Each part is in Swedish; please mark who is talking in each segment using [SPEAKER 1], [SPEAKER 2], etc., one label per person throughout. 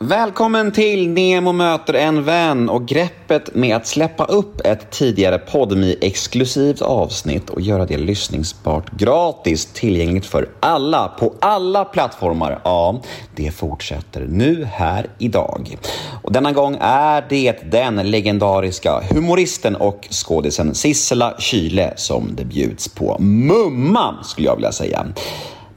[SPEAKER 1] Välkommen till Nemo möter en vän och greppet med att släppa upp ett tidigare podmi exklusivt avsnitt och göra det lyssningsbart gratis tillgängligt för alla på alla plattformar. Ja, det fortsätter nu här idag. Och denna gång är det den legendariska humoristen och skådisen Sissela Kyle som det bjuds på. Mumma skulle jag vilja säga.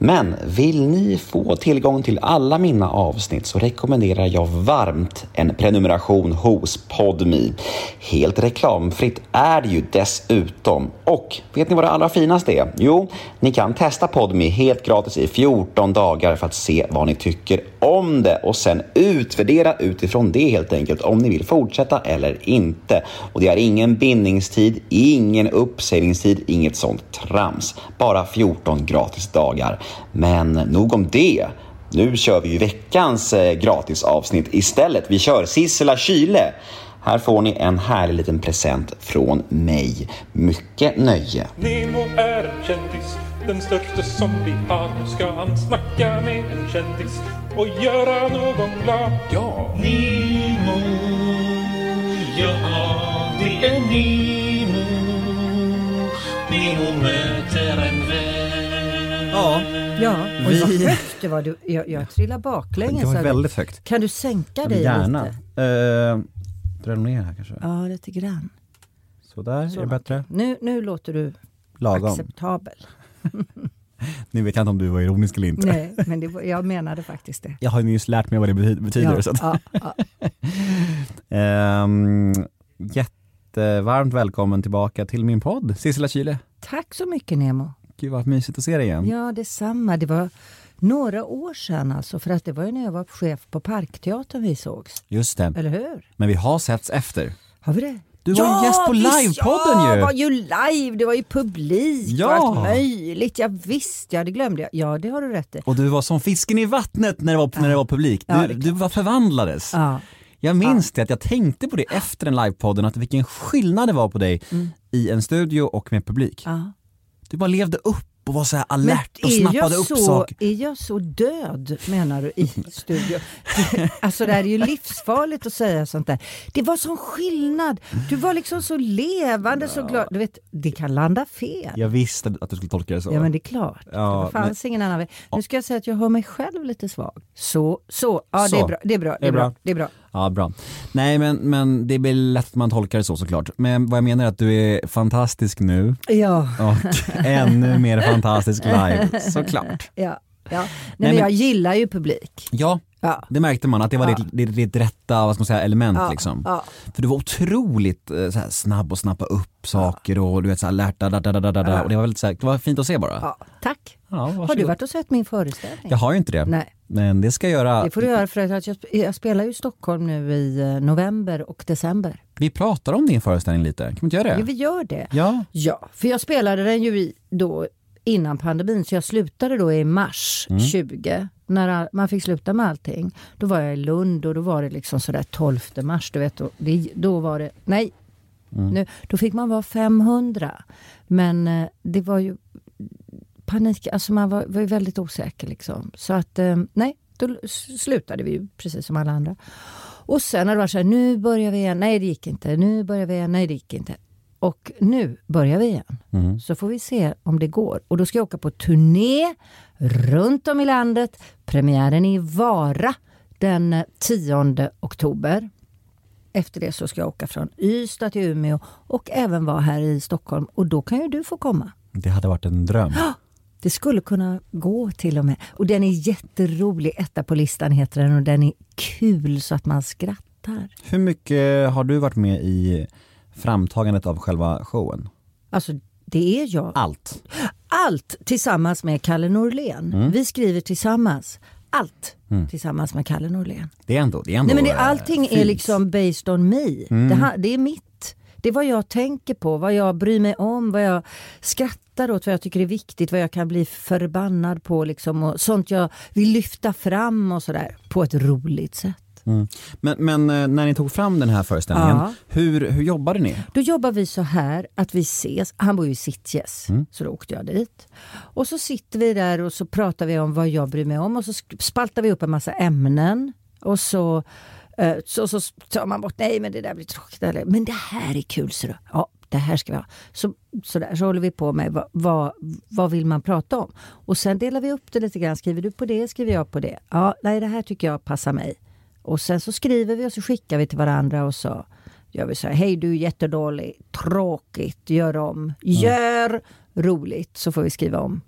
[SPEAKER 1] Men vill ni få tillgång till alla mina avsnitt så rekommenderar jag varmt en prenumeration hos Podmi. Helt reklamfritt är det ju dessutom. Och vet ni vad det allra finaste är? Jo, ni kan testa Podmi helt gratis i 14 dagar för att se vad ni tycker om det och sen utvärdera utifrån det helt enkelt om ni vill fortsätta eller inte. Och det är ingen bindningstid, ingen uppsägningstid, inget sånt trams. Bara 14 gratis dagar. Men nog om det. Nu kör vi ju veckans eh, gratisavsnitt istället. Vi kör Sissela Kyle. Här får ni en härlig liten present från mig. Mycket nöje.
[SPEAKER 2] Nemo är en kändis, den största som vi har. Nu ska han snacka med en kändis och göra någon glad. Ja!
[SPEAKER 3] Nemo, ja det är Nemo. Nemo möter en vän.
[SPEAKER 4] Ja,
[SPEAKER 5] Ja, och vad
[SPEAKER 4] Vi-
[SPEAKER 5] högt det var. Du, jag, jag trillade baklänges.
[SPEAKER 4] det var
[SPEAKER 5] här.
[SPEAKER 4] väldigt högt.
[SPEAKER 5] Kan du sänka dig
[SPEAKER 4] Gärna.
[SPEAKER 5] lite?
[SPEAKER 4] Eh, Drar du ner här kanske?
[SPEAKER 5] Ja, lite grann.
[SPEAKER 4] Sådär, är det bättre?
[SPEAKER 5] Nu, nu låter du
[SPEAKER 4] Lagom.
[SPEAKER 5] acceptabel.
[SPEAKER 4] Nu vet jag inte om du var ironisk eller inte.
[SPEAKER 5] Nej, men det, var- jag menade faktiskt det.
[SPEAKER 4] Jag har ju nyss lärt mig vad det bety- betyder.
[SPEAKER 5] ja,
[SPEAKER 4] Så att,
[SPEAKER 5] ja, ja.
[SPEAKER 4] Ehm, jättevarmt välkommen tillbaka till min podd, Sissela Kyle.
[SPEAKER 5] Tack så mycket Nemo.
[SPEAKER 4] Gud vad mysigt att se dig igen.
[SPEAKER 5] Ja, detsamma. Det var några år sedan alltså, för att det var ju när jag var chef på Parkteatern vi sågs.
[SPEAKER 4] Just det,
[SPEAKER 5] Eller hur?
[SPEAKER 4] men vi har setts efter.
[SPEAKER 5] Har vi det?
[SPEAKER 4] Du var ju gäst på
[SPEAKER 5] visst,
[SPEAKER 4] livepodden
[SPEAKER 5] ja,
[SPEAKER 4] ju.
[SPEAKER 5] var ju live, det var ju publik och
[SPEAKER 4] Ja.
[SPEAKER 5] allt möjligt. Ja, visst, ja det glömde jag. Ja, det har du rätt i.
[SPEAKER 4] Och du var som fisken i vattnet när det var, när det var publik. Du,
[SPEAKER 5] Ja, det är
[SPEAKER 4] du var förvandlades.
[SPEAKER 5] Ja. Ah.
[SPEAKER 4] Jag minns det, att jag tänkte på det efter den livepodden, att vilken skillnad det var på dig
[SPEAKER 5] Mm.
[SPEAKER 4] i en studio och med publik.
[SPEAKER 5] Ja.
[SPEAKER 4] Du bara levde upp och var så här alert och snappade upp
[SPEAKER 5] så,
[SPEAKER 4] saker.
[SPEAKER 5] Är jag så död menar du i studion? alltså det här är ju livsfarligt att säga sånt där. Det var sån skillnad. Du var liksom så levande, så glad. Du vet, det kan landa fel. Ja.
[SPEAKER 4] Jag visste att du skulle tolka det så.
[SPEAKER 5] men det är klart.
[SPEAKER 4] Ja,
[SPEAKER 5] det fanns ingen annan väg. Nu ska jag säga att jag hör mig själv lite svag. Så, så. Ja, det
[SPEAKER 4] Så.
[SPEAKER 5] är bra. Det är bra.
[SPEAKER 4] Det är bra.
[SPEAKER 5] Det är bra.
[SPEAKER 4] Ja, bra. Nej men, men det blir lätt att man tolkar det så såklart. Men vad jag menar är att du är fantastisk nu
[SPEAKER 5] Ja,
[SPEAKER 4] och ännu mer fantastisk live såklart.
[SPEAKER 5] ja, ja. Nej,
[SPEAKER 4] Nej,
[SPEAKER 5] men
[SPEAKER 4] men-
[SPEAKER 5] jag gillar ju publik.
[SPEAKER 4] Ja,
[SPEAKER 5] Ja.
[SPEAKER 4] det märkte man att det var
[SPEAKER 5] Ja.
[SPEAKER 4] ditt, ditt, ditt rätta vad ska man säga, element
[SPEAKER 5] Ja,
[SPEAKER 4] liksom.
[SPEAKER 5] ja.
[SPEAKER 4] För du var otroligt eh, så här, snabb och snappa upp saker och du vet så här, lärt, da, da, da, da, da, da. Och det var väldigt så här, det var fint att se bara.
[SPEAKER 5] Ja, tack.
[SPEAKER 4] Ja,
[SPEAKER 5] Har du
[SPEAKER 4] varsågod.
[SPEAKER 5] varit och sett min föreställning?
[SPEAKER 4] Jag har ju inte det.
[SPEAKER 5] Nej.
[SPEAKER 4] Men det ska jag göra.
[SPEAKER 5] Det får du göra för att jag, jag spelar ju i Stockholm nu i eh, november och december.
[SPEAKER 4] Vi pratar om din föreställning lite, kan vi inte göra
[SPEAKER 5] Ja.
[SPEAKER 4] det?
[SPEAKER 5] Jo, vi gör det.
[SPEAKER 4] Ja.
[SPEAKER 5] Ja, för jag spelade den ju i, då innan pandemin så jag slutade då i mars 20 när all- man fick sluta med allting. Då var jag i Lund och då var det liksom sådär 12 mars, du vet. Och det, då var det, nej, nu, då fick man vara 500. Men eh, det var ju panik, alltså man var, var ju väldigt osäker liksom. Så att eh, nej, då l- s- slutade vi ju precis som alla andra. Och sen har det varit så här, nu börjar vi igen, nej det gick inte, nu börjar vi igen, nej det gick inte. Och nu börjar vi igen. Så får vi se om det går. Och då ska jag åka på turné runt om i landet. Premiären är i Vara den eh, 10 oktober. Efter det så ska jag åka från Ystad till Umeå och även vara här i Stockholm. Och då kan ju du få komma.
[SPEAKER 4] Det hade varit en dröm.
[SPEAKER 5] Det skulle kunna gå till och med. Och den är jätterolig. Etta på listan heter den och den är kul så att man skrattar.
[SPEAKER 4] Hur mycket har du varit med i framtagandet av själva showen?
[SPEAKER 5] Alltså, det är jag.
[SPEAKER 4] Allt.
[SPEAKER 5] Allt tillsammans med Kalle Norlén. Vi skriver tillsammans. Allt tillsammans med Kalle Norlén.
[SPEAKER 4] Det är ändå, det är ändå
[SPEAKER 5] Nej, men det,
[SPEAKER 4] eh,
[SPEAKER 5] allting är
[SPEAKER 4] fint.
[SPEAKER 5] liksom based on me. Det, här, det är mitt. Det är vad jag tänker på, vad jag bryr mig om, vad jag skrattar åt, vad jag tycker är viktigt, vad jag kan bli förbannad på liksom, och sånt jag vill lyfta fram och sådär på ett roligt sätt.
[SPEAKER 4] Mm. Men, men eh, när ni tog fram den här föreställningen,
[SPEAKER 5] Ja.
[SPEAKER 4] hur, hur jobbade ni?
[SPEAKER 5] Då jobbar vi så här att vi ses. Han bor ju i Sitges, så då åkte jag dit. Och så sitter vi där och så pratar vi om vad jag bryr mig om och så sk- spaltar vi upp en massa ämnen. Och så, eh, så, så tar man bort, nej men det där blir tråkigt. Eller, men det här är kul, så du. Ja, det här ska vi ha. Så, så, där, så håller vi på med vad, vad, vad vill man prata om? Och sen delar vi upp det lite grann. Skriver du på det, skriver jag på det. Ja, nej det här tycker jag passar mig. Och sen så skriver vi och så skickar vi till varandra och så gör vi så här. Hej du är jättedålig, tråkigt, gör om, gör roligt så får vi skriva om.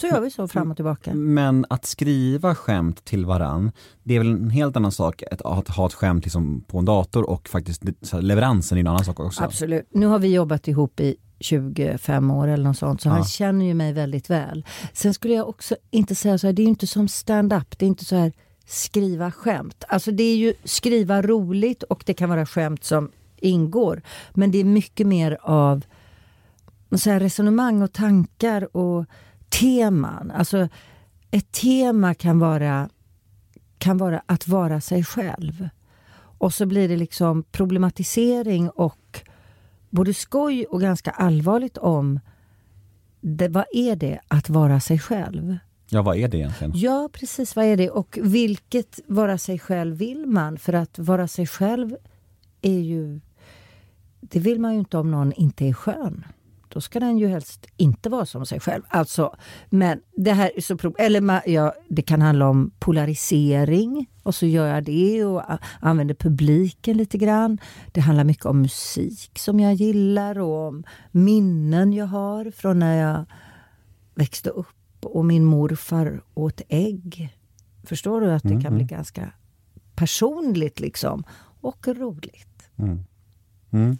[SPEAKER 5] Så gör vi så fram och tillbaka.
[SPEAKER 4] Men att skriva skämt till varann, det är väl en helt annan sak att, att ha ett skämt liksom på en dator och faktiskt det- så här, leveransen är en annan sak också.
[SPEAKER 5] Absolut. Nu har vi jobbat ihop i 25 år eller något sånt, så han känner ju mig väldigt väl. Sen skulle jag också inte säga så här, det är ju inte som stand-up, det är inte så här skriva skämt. Alltså det är ju skriva roligt och det kan vara skämt som ingår. Men det är mycket mer av så här resonemang och tankar och teman. Alltså ett tema kan vara, kan vara att vara sig själv. Och så blir det liksom problematisering och både skoj och ganska allvarligt om det, vad är det att vara sig själv?
[SPEAKER 4] Ja, vad är det egentligen?
[SPEAKER 5] Ja, precis. Vad är det? Och vilket vara sig själv vill man? För att vara sig själv är ju... Det vill man ju inte om någon inte är skön. Då ska den ju helst inte vara som sig själv. Alltså, men det här är så... pro- Eller ma- ja, det kan handla om polarisering och så gör jag det och a- använder publiken lite grann. Det handlar mycket om musik som jag gillar och om minnen jag har från när jag växte upp och min morfar åt ägg. Förstår du att det kan bli ganska personligt liksom och roligt.
[SPEAKER 4] Fan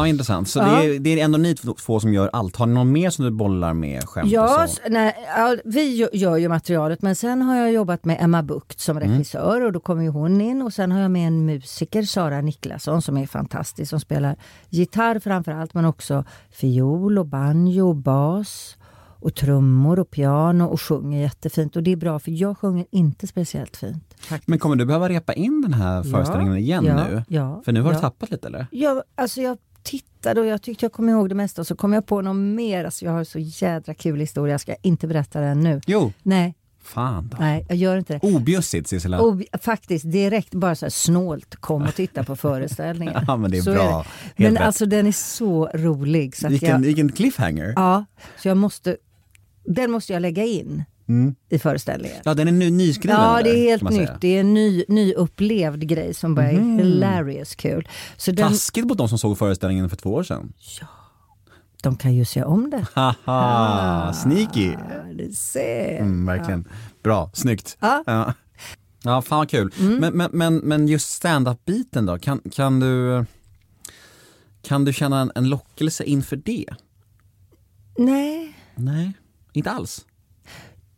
[SPEAKER 4] vad intressant. Så
[SPEAKER 5] Ja.
[SPEAKER 4] det, är, det är ändå ni två- två som gör allt. Har ni någon mer som du bollar med skämt
[SPEAKER 5] Ja,
[SPEAKER 4] och så?
[SPEAKER 5] s- nej, ja, vi ju- gör ju materialet men sen har jag jobbat med Emma Bukt som regissör och då kommer ju hon in och sen har jag med en musiker, Sara Niklasson som är fantastisk som spelar gitarr framför allt men också fiol och banjo och bas och trummor och piano och sjunger jättefint och det är bra för jag sjunger inte speciellt fint.
[SPEAKER 4] Men kommer du behöva repa in den här föreställningen igen
[SPEAKER 5] ja,
[SPEAKER 4] nu?
[SPEAKER 5] ja,
[SPEAKER 4] För nu har
[SPEAKER 5] ja.
[SPEAKER 4] du tappat lite eller?
[SPEAKER 5] Jag, alltså jag tittade och jag tyckte jag kom ihåg det mesta och så kom jag på något mer. Alltså jag har så jädra kul historia, jag ska inte berätta den nu.
[SPEAKER 4] Jo, Oh,
[SPEAKER 5] Nej,
[SPEAKER 4] fan då.
[SPEAKER 5] nej, jag gör inte det.
[SPEAKER 4] Objussigt Sissela.
[SPEAKER 5] Och vi- faktiskt direkt bara så här snålt kom och titta på föreställningen.
[SPEAKER 4] Ja, men det är
[SPEAKER 5] så
[SPEAKER 4] bra.
[SPEAKER 5] det.
[SPEAKER 4] Helt
[SPEAKER 5] Men
[SPEAKER 4] rätt.
[SPEAKER 5] alltså den är så rolig. Så, att
[SPEAKER 4] vilken,
[SPEAKER 5] jag,
[SPEAKER 4] vilken cliffhanger.
[SPEAKER 5] ja, så jag måste, den måste jag lägga in i föreställningen.
[SPEAKER 4] Ja, den är ny, nyskriven
[SPEAKER 5] Ja, det
[SPEAKER 4] eller?
[SPEAKER 5] är helt
[SPEAKER 4] Mm. Kan man säga. Mm.
[SPEAKER 5] nytt. Det är en ny, nyupplevd grej som bara är hilarious kul. Så den,
[SPEAKER 4] Taskigt mot de som såg föreställningen för två år sedan.
[SPEAKER 5] de kan ju se om det.
[SPEAKER 4] Haha, Ah, sneaky.
[SPEAKER 5] Ja, du ser.
[SPEAKER 4] Mm, verkligen. Bra, snyggt.
[SPEAKER 5] Ja. Mm.
[SPEAKER 4] Ja. ja, fan vad kul. Men, men, men, men just stand-up-biten då, kan, kan, du, kan du känna en, en lockelse inför det?
[SPEAKER 5] Nej,
[SPEAKER 4] Nej, inte alls.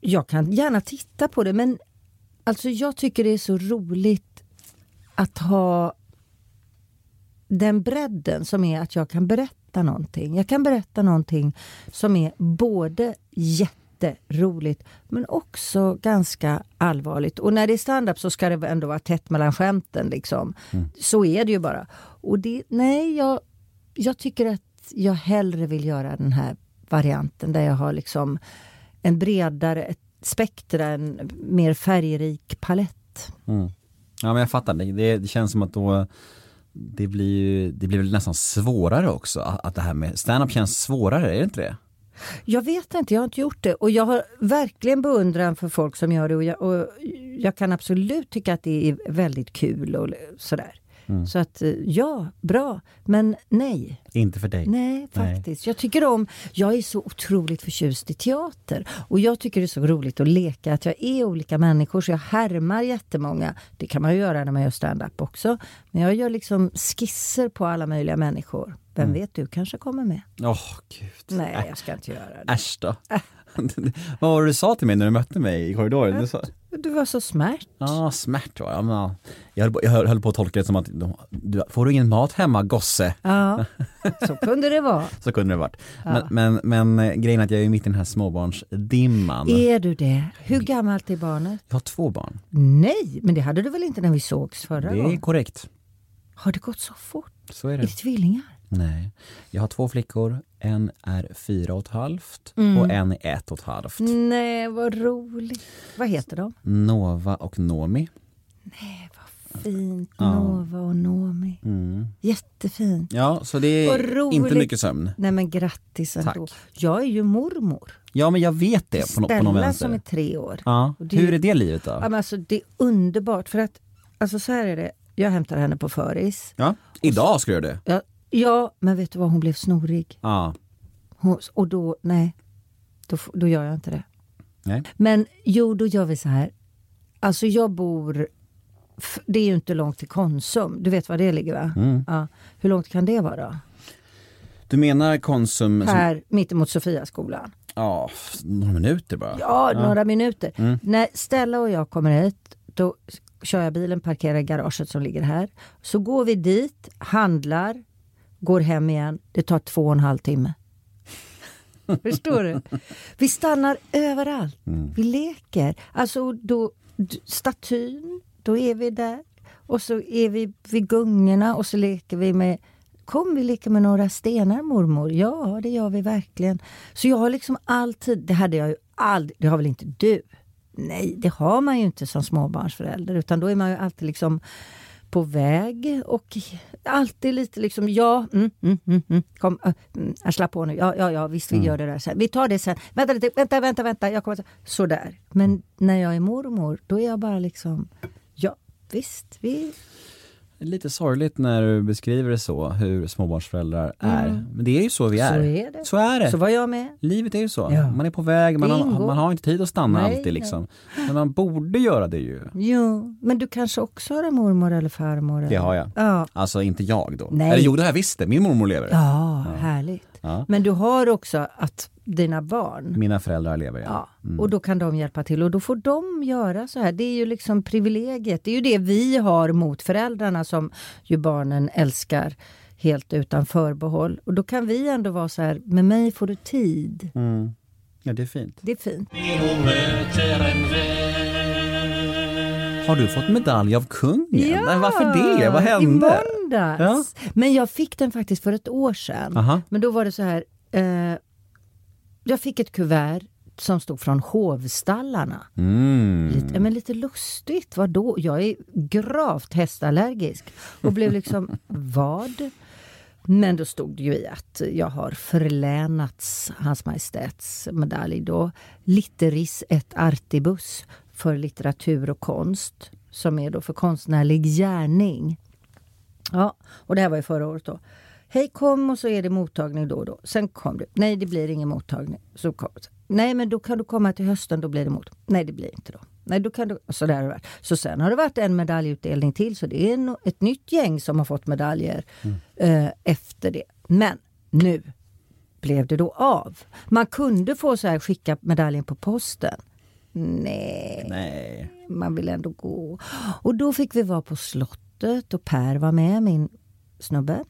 [SPEAKER 5] jag kan gärna titta på det men alltså jag tycker det är så roligt att ha den bredden som är att jag kan berätta någonting. Jag kan berätta någonting som är både jätteroligt men också ganska allvarligt. Och när det är stand-up så ska det ändå vara tätt mellan skämten. Liksom. Så är det ju bara. Och det, nej, jag, jag tycker att jag hellre vill göra den här varianten där jag har liksom en bredare ett spektra, en mer färgrik palett.
[SPEAKER 4] Ja, men jag fattar. Det, det, det känns som att då det blir ju, det blir väl nästan svårare också att, att det här med stand-up känns svårare, är det inte det?
[SPEAKER 5] Jag vet inte, jag har inte gjort det. Och jag har verkligen beundran för folk som gör det. Och jag, och jag kan absolut tycka att det är väldigt kul och sådär. Så att eh, ja, bra. Men nej,
[SPEAKER 4] Inte för dig.
[SPEAKER 5] Nej, faktiskt. Jag tycker om, jag är så otroligt förtjust i teater. Och jag tycker det är så roligt att leka, att jag är olika människor så jag härmar jättemånga. Det kan man ju göra när man gör stand-up också. Men jag gör liksom skisser på alla möjliga människor. Vem vet, du kanske kommer med?
[SPEAKER 4] Åh, gud.
[SPEAKER 5] Nej, Äh. jag ska inte göra det.
[SPEAKER 4] Äsch då. Vad var det du sa till mig när du mötte mig i korridoren? Du sa,
[SPEAKER 5] Du var så smärt.
[SPEAKER 4] Ja, smärt var jag. men ja. Jag höll, på- jag höll- höll på att tolka det som att, de- du, får du ingen mat hemma gosse?
[SPEAKER 5] Ja, så kunde det vara.
[SPEAKER 4] Så kunde det varit. Men, men, men eh, grejen är att jag är mitt i den här småbarnsdimman.
[SPEAKER 5] Är du det? Hur gammalt är barnet?
[SPEAKER 4] Jag har två barn.
[SPEAKER 5] Nej, men det hade du väl inte när vi sågs förra
[SPEAKER 4] Det är
[SPEAKER 5] gången?
[SPEAKER 4] korrekt.
[SPEAKER 5] Har det gått så fort?
[SPEAKER 4] Så är
[SPEAKER 5] Är det
[SPEAKER 4] det.
[SPEAKER 5] tvillingar?
[SPEAKER 4] Nej. Jag har två flickor. En är fyra och ett halvt
[SPEAKER 5] Mm.
[SPEAKER 4] och en är ett och ett halvt.
[SPEAKER 5] Nej, vad roligt. Vad heter de?
[SPEAKER 4] Nova och Nomi.
[SPEAKER 5] Nej, vad fint. Nova och Nomi. Jättefint.
[SPEAKER 4] Ja, så det
[SPEAKER 5] Vad
[SPEAKER 4] är
[SPEAKER 5] roligt.
[SPEAKER 4] inte mycket sömn.
[SPEAKER 5] Nej men grattis ändå.
[SPEAKER 4] Tack.
[SPEAKER 5] Jag är ju mormor.
[SPEAKER 4] Ja, men jag vet det på, nå- på någon
[SPEAKER 5] Stella som är
[SPEAKER 4] vänster.
[SPEAKER 5] tre år.
[SPEAKER 4] Ja.
[SPEAKER 5] Och det är
[SPEAKER 4] Hur
[SPEAKER 5] ju-
[SPEAKER 4] är det livet
[SPEAKER 5] Ja,
[SPEAKER 4] då?
[SPEAKER 5] men alltså, det är underbart. För att, alltså så här är det. Jag hämtar henne på föris.
[SPEAKER 4] Ja. Idag ska du göra det.
[SPEAKER 5] Ja, ja men vet du vad? Hon blev snorig.
[SPEAKER 4] Ja.
[SPEAKER 5] Hon, och då, nej. Då, f- då gör jag inte det.
[SPEAKER 4] Nej.
[SPEAKER 5] Men jo, då gör vi så här. Alltså jag bor... f- Det är ju inte långt till Konsum. Du vet var det ligger va? Ja. Hur långt kan det vara då?
[SPEAKER 4] Du menar Konsum... Som,
[SPEAKER 5] Här mittemot Sofiaskolan.
[SPEAKER 4] ja, f- några minuter bara.
[SPEAKER 5] Ja, några minuter. När Stella och jag kommer hit, då s- kör jag bilen, parkerar i garaget som ligger här. Så går vi dit, handlar, går hem igen. Det tar två och en halv timme. Förstår du? Vi stannar överallt. Vi leker. Alltså, då, d- statyn, då är vi där. Och så är vi vid gungorna och så leker vi med Kom vi leker med några stenar mormor. Ja, det gör vi verkligen. Så jag har liksom alltid, det hade jag ju aldrig, det har väl inte du? Nej, det har man ju inte som småbarnsförälder utan då är man ju alltid liksom på väg och alltid lite liksom ja, mm, mm, mm, mm, kom, äh, mm, jag slapp på nu, ja, ja, ja, visst vi
[SPEAKER 4] Mm.
[SPEAKER 5] gör det där sen, vi tar det sen, vänta lite, vänta, vänta, vänta, jag kommer, sådär. Men när jag är mormor, då är jag bara liksom, ja, visst, vi,
[SPEAKER 4] Det är lite sorgligt när du beskriver det så, hur småbarnsföräldrar är. Men det är ju så vi är.
[SPEAKER 5] så är det.
[SPEAKER 4] Så är det.
[SPEAKER 5] Så var jag med.
[SPEAKER 4] Livet är ju så.
[SPEAKER 5] Ja.
[SPEAKER 4] Man är på väg, man
[SPEAKER 5] Det
[SPEAKER 4] har,
[SPEAKER 5] ingår.
[SPEAKER 4] man har inte tid att stanna
[SPEAKER 5] Nej,
[SPEAKER 4] alltid
[SPEAKER 5] nej.
[SPEAKER 4] liksom. Men man borde göra det ju.
[SPEAKER 5] Jo, men du kanske också har en mormor eller farmor? Eller?
[SPEAKER 4] Det har jag.
[SPEAKER 5] Ja.
[SPEAKER 4] Alltså inte jag då.
[SPEAKER 5] Nej.
[SPEAKER 4] Eller jo, det har jag visst det. Min mormor lever.
[SPEAKER 5] Ja, härligt.
[SPEAKER 4] Ja.
[SPEAKER 5] Men du har också att dina barn,
[SPEAKER 4] Mina föräldrar lever ja.
[SPEAKER 5] ja, och då kan de hjälpa till och då får de göra så här. Det är ju liksom privilegiet. Det är ju det vi har mot föräldrarna som ju barnen älskar helt utan förbehåll. Och då kan vi ändå vara så här, med mig får du tid.
[SPEAKER 4] Mm. Ja, det är fint.
[SPEAKER 5] Det är fint.
[SPEAKER 3] Nemo möter en vän
[SPEAKER 4] Har du fått medalj av kungen? Nej, varför det? Vad
[SPEAKER 5] I
[SPEAKER 4] hände?
[SPEAKER 5] måndags. Men jag fick den faktiskt för ett år sedan.
[SPEAKER 4] Aha.
[SPEAKER 5] Men då var det så här. Eh, jag fick ett kuvert som stod från hovstallarna.
[SPEAKER 4] Mm.
[SPEAKER 5] Lite, men lite lustigt, vadå? Jag är gravt hästallergisk. Och blev liksom, vad? Men då stod det ju i att jag har förlänats Hans Majestäts medalj då. Litteris et artibus för litteratur och konst. Som är då för konstnärlig gärning. Ja, och det här var ju förra året då. Hej kom och så är det mottagning då och då. Sen kom du. Nej det blir ingen mottagning. Så kom det. Nej men då kan du komma till hösten, då blir det mot. Nej det blir inte då. Nej då kan du. och Så där har det varit. Så sen har det varit en medaljutdelning till så det är no- ett nytt gäng som har fått medaljer eh, efter det. Men nu blev det då av. Man kunde få så här skicka medaljen på posten. Nej
[SPEAKER 4] Nej.
[SPEAKER 5] man vill ändå gå. Och då fick vi vara på slottet och Per var med, min snubbe.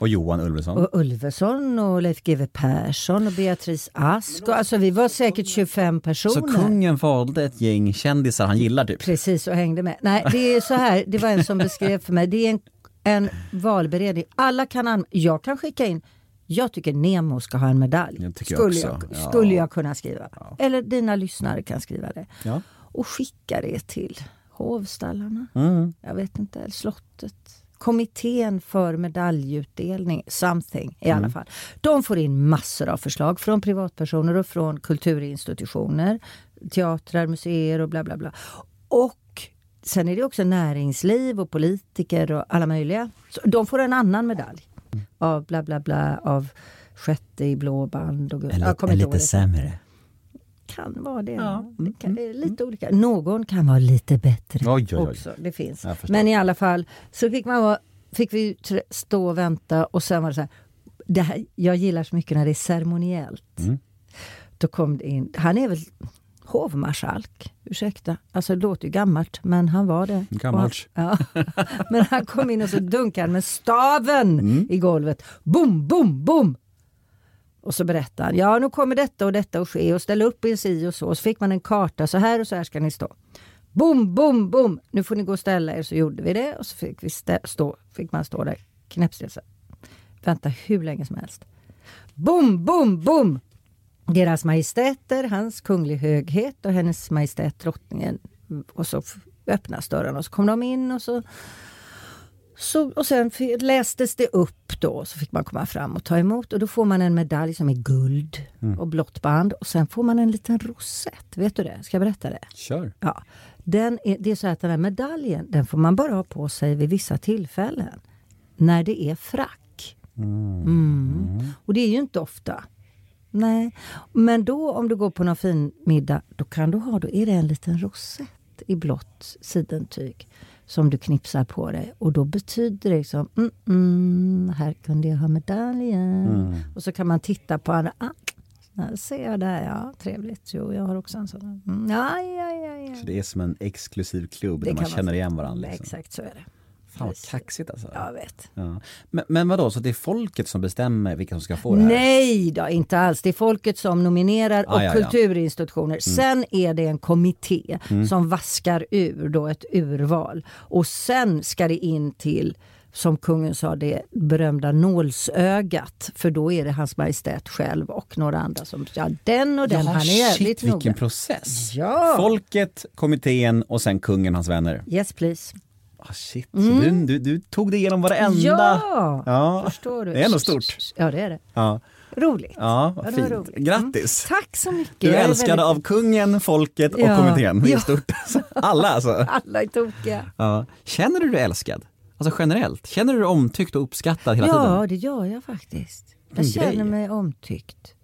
[SPEAKER 4] Och Johan Ulveson?
[SPEAKER 5] Och Ulveson och Leif GW Persson och Beatrice Ask. Och, alltså vi var säkert 25
[SPEAKER 4] Så
[SPEAKER 5] personer.
[SPEAKER 4] kungen valde ett gäng kändisar han gillar typ?
[SPEAKER 5] Precis, och hängde med. Nej, det är så här, det var en som beskrev för mig. Det är en, en valberedning. Alla kan anm- Jag kan skicka in jag tycker Nemo ska ha en medalj.
[SPEAKER 4] Jag tycker jag
[SPEAKER 5] skulle,
[SPEAKER 4] också. Ja.
[SPEAKER 5] skulle jag kunna skriva. Eller dina lyssnare kan skriva det.
[SPEAKER 4] Ja.
[SPEAKER 5] Och skicka det till hovstallarna.
[SPEAKER 4] Mm.
[SPEAKER 5] Jag vet inte, eller slottet. Kommittén för medaljutdelning, something i
[SPEAKER 4] Mm.
[SPEAKER 5] alla fall. De får in massor av förslag från privatpersoner och från kulturinstitutioner, teatrar, museer och bla bla bla. Och sen är det också näringsliv och politiker och alla möjliga. Så de får en annan medalj av bla bla bla, av sjätte i blå band och guld.
[SPEAKER 4] Eller,
[SPEAKER 5] Jag kommer
[SPEAKER 4] eller
[SPEAKER 5] inte ihåg
[SPEAKER 4] lite
[SPEAKER 5] det
[SPEAKER 4] sämre? Mm.
[SPEAKER 5] kan vara det. det kan, det är lite olika. Någon kan vara lite bättre
[SPEAKER 4] Oj, oj, oj.
[SPEAKER 5] också. Det finns.
[SPEAKER 4] Jag förstår.
[SPEAKER 5] Men i alla fall så fick, man vara, fick vi tr- stå och vänta och sen var det så här. Det här jag gillar så mycket när det är ceremoniellt. Då kom det in, han är väl hovmarskalk, ursäkta. Alltså det låter ju gammalt, men han var det.
[SPEAKER 4] Gammalt.
[SPEAKER 5] Och han- Ja. Men han kom in och så dunkade han med staven i golvet. Bom, bom, bom! Och så berättar han, ja nu kommer detta och detta att ske och ställ upp er si och så. Och så fick man en karta, så här och så här ska ni stå. Bom, bom, bom! Nu får ni gå och ställa er. Så gjorde vi det och så fick, vi stä- stå, fick man stå där knäppstill. så här. Vänta hur länge som helst. Bom, bom, bom! Deras majestäter, hans kunglig höghet och hennes majestät drottningen. Och så f- öppnas dörrarna och så kom de in och så så, och sen f- lästes det upp då, så fick man komma fram och ta emot och då får man en medalj som är guld och blått band och sen får man en liten rosett. Vet du det? Ska jag berätta det?
[SPEAKER 4] Kör.
[SPEAKER 5] Ja. Den är, det är så att den här medaljen, den får man bara ha på sig vid vissa tillfällen. När det är frack. Mm. Och det är ju inte ofta. Nej, men då om du går på någon fin middag, då kan du ha, då är det en liten rosett i blått sidentyg som du knipsar på dig och då betyder det liksom, mm, mm, här kunde jag ha medaljen.
[SPEAKER 4] Mm.
[SPEAKER 5] Och så kan man titta på andra, ah, där ser jag där, ja trevligt, jo jag har också en sån. Mm, ja, ja, ja, ja.
[SPEAKER 4] Så det är som en exklusiv klubb
[SPEAKER 5] Det
[SPEAKER 4] där man
[SPEAKER 5] kan man
[SPEAKER 4] känner
[SPEAKER 5] säga.
[SPEAKER 4] igen varandra. Liksom.
[SPEAKER 5] Exakt så är det.
[SPEAKER 4] Fan vad
[SPEAKER 5] Precis.
[SPEAKER 4] kaxigt alltså.
[SPEAKER 5] Jag vet.
[SPEAKER 4] Ja. Men, men vadå, så det är folket som bestämmer vilka som ska få det här?
[SPEAKER 5] Nej då, inte alls. Det är folket som nominerar och
[SPEAKER 4] Ah, ja, Mm. ja.
[SPEAKER 5] kulturinstitutioner. Sen är det en kommitté
[SPEAKER 4] Mm.
[SPEAKER 5] som vaskar ur då ett urval. Och sen ska det in till, som kungen sa, det berömda nålsögat. För då är det hans majestät själv och några andra som, ja den och den,
[SPEAKER 4] Jaha,
[SPEAKER 5] han är
[SPEAKER 4] shit,
[SPEAKER 5] jävligt
[SPEAKER 4] vilken
[SPEAKER 5] noga.
[SPEAKER 4] process!
[SPEAKER 5] Ja.
[SPEAKER 4] Folket, kommittén och sen kungen och hans vänner.
[SPEAKER 5] Yes please.
[SPEAKER 4] Ah, shit, så du, du, du tog dig igenom varenda...
[SPEAKER 5] Mm. Ja,
[SPEAKER 4] Ja.
[SPEAKER 5] förstår du.
[SPEAKER 4] Det är ändå stort.
[SPEAKER 5] Ja det är det.
[SPEAKER 4] Ja,
[SPEAKER 5] Roligt.
[SPEAKER 4] ja
[SPEAKER 5] Ja,
[SPEAKER 4] vad
[SPEAKER 5] det var
[SPEAKER 4] fint.
[SPEAKER 5] roligt. Mm.
[SPEAKER 4] Grattis!
[SPEAKER 5] Tack så mycket.
[SPEAKER 4] Du
[SPEAKER 5] Jag
[SPEAKER 4] är
[SPEAKER 5] är
[SPEAKER 4] älskad
[SPEAKER 5] väldigt-
[SPEAKER 4] av kungen, folket och
[SPEAKER 5] Ja.
[SPEAKER 4] kommittén. Det är
[SPEAKER 5] Ja.
[SPEAKER 4] stort. Alla alltså.
[SPEAKER 5] Alla är tokiga.
[SPEAKER 4] Ja. Känner du dig älskad? Alltså generellt, känner du dig omtyckt och uppskattad hela tiden?
[SPEAKER 5] Ja, det gör jag faktiskt. Jag
[SPEAKER 4] Vilken
[SPEAKER 5] känner
[SPEAKER 4] grej.
[SPEAKER 5] mig omtyckt.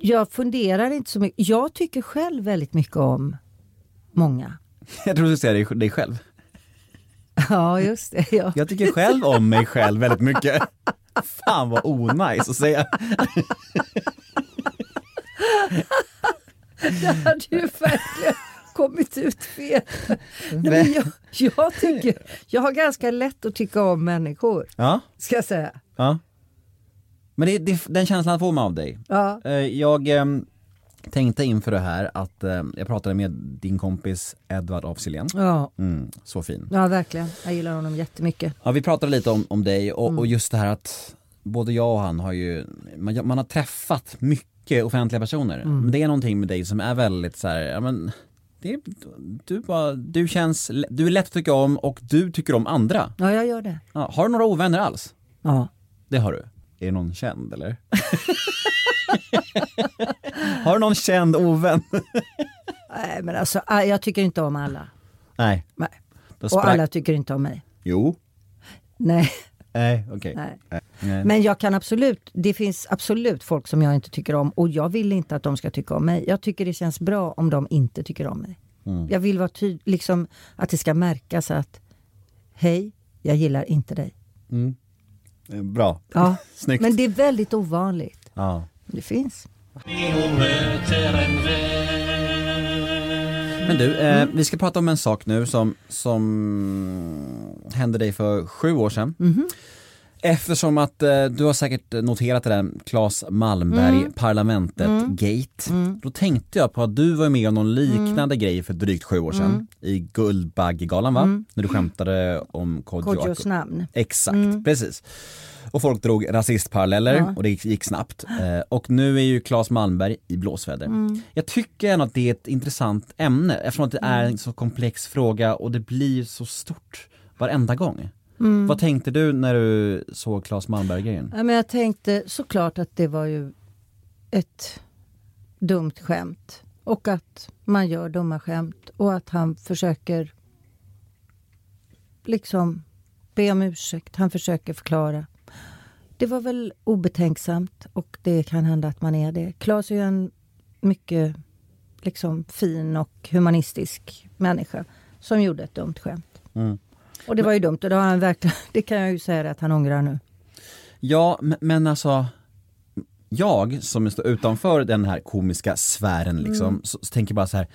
[SPEAKER 5] Jag funderar inte så mycket. Jag tycker själv väldigt mycket om många.
[SPEAKER 4] Jag tror du säger dig, dig själv.
[SPEAKER 5] Ja, just det. Ja.
[SPEAKER 4] Jag tycker själv om mig själv väldigt mycket. Fan vad onajs att säga.
[SPEAKER 5] Där hade ju verkligen kommit ut fel. Nej, men jag, jag, tycker, jag har ganska lätt att tycka om människor,
[SPEAKER 4] Ja,
[SPEAKER 5] ska jag säga.
[SPEAKER 4] ja. Men det, det, den känslan får man av dig.
[SPEAKER 5] Ja.
[SPEAKER 4] Eh, Jag ehm, tänkte inför det här att eh, jag pratade med din kompis Edvard af Sillén.
[SPEAKER 5] Ja,
[SPEAKER 4] Mm, så fin.
[SPEAKER 5] ja, verkligen. Jag gillar honom jättemycket.
[SPEAKER 4] Ja, vi pratade lite om, om dig och,
[SPEAKER 5] Mm.
[SPEAKER 4] och just det här att både jag och han har ju, man, man har träffat mycket offentliga personer.
[SPEAKER 5] Mm.
[SPEAKER 4] Men det är någonting med dig som är väldigt så här, ja men det, är- du, bara, du känns, du är lätt att tycka om och du tycker om andra.
[SPEAKER 5] Ja, jag gör det.
[SPEAKER 4] Ja, har du några ovänner alls?
[SPEAKER 5] Ja.
[SPEAKER 4] Det har du. Är det någon känd eller? har du någon känd ovän?
[SPEAKER 5] Nej, men alltså, jag tycker inte om alla.
[SPEAKER 4] Nej.
[SPEAKER 5] Nej.
[SPEAKER 4] Då
[SPEAKER 5] Och
[SPEAKER 4] sprack-
[SPEAKER 5] alla tycker inte om mig.
[SPEAKER 4] Jo.
[SPEAKER 5] Nej.
[SPEAKER 4] Nej, okej.
[SPEAKER 5] Nej.
[SPEAKER 4] Nej.
[SPEAKER 5] Men jag kan absolut, det finns absolut folk som jag inte tycker om och jag vill inte att de ska tycka om mig. Jag tycker det känns bra om de inte tycker om mig. Jag vill vara tydlig, liksom att det ska märkas att hej, jag gillar inte dig.
[SPEAKER 4] Eh, Bra.
[SPEAKER 5] Ja,
[SPEAKER 4] Snyggt.
[SPEAKER 5] men det är väldigt ovanligt.
[SPEAKER 4] Ja.
[SPEAKER 5] Det finns.
[SPEAKER 3] Hon möter en vän
[SPEAKER 4] Men du, eh, vi ska prata om en sak nu som, som hände dig för sju år sedan. Eftersom att eh, du har säkert noterat det där Claes Malmberg, parlamentet, gate. Då tänkte jag på att du var med om någon liknande grej för drygt sju år sedan i Guldbaggegalan va? När du skämtade om Kodjo
[SPEAKER 5] Kodjos namn.
[SPEAKER 4] Exakt, precis. Och folk drog rasistparalleller och det gick, gick snabbt. Eh, och nu är ju Claes Malmberg i blåsväder. Jag tycker ändå att det är ett intressant ämne eftersom att det är en så komplex fråga och det blir så stort varenda gång. Vad tänkte du när du såg Claes Malmberg-grejen?
[SPEAKER 5] Ja, men jag tänkte såklart att det var ju ett dumt skämt. Och att man gör dumma skämt. Och att han försöker liksom be om ursäkt. Han försöker förklara. Det var väl obetänksamt och det kan hända att man är det. Claes är ju en mycket liksom, fin och humanistisk människa som gjorde ett dumt skämt. Och det var ju dumt och det, har han verkligen, det kan jag ju säga att han ångrar nu.
[SPEAKER 4] Ja, m- men alltså jag som står utanför den här komiska sfären liksom, så, så tänker jag bara så här.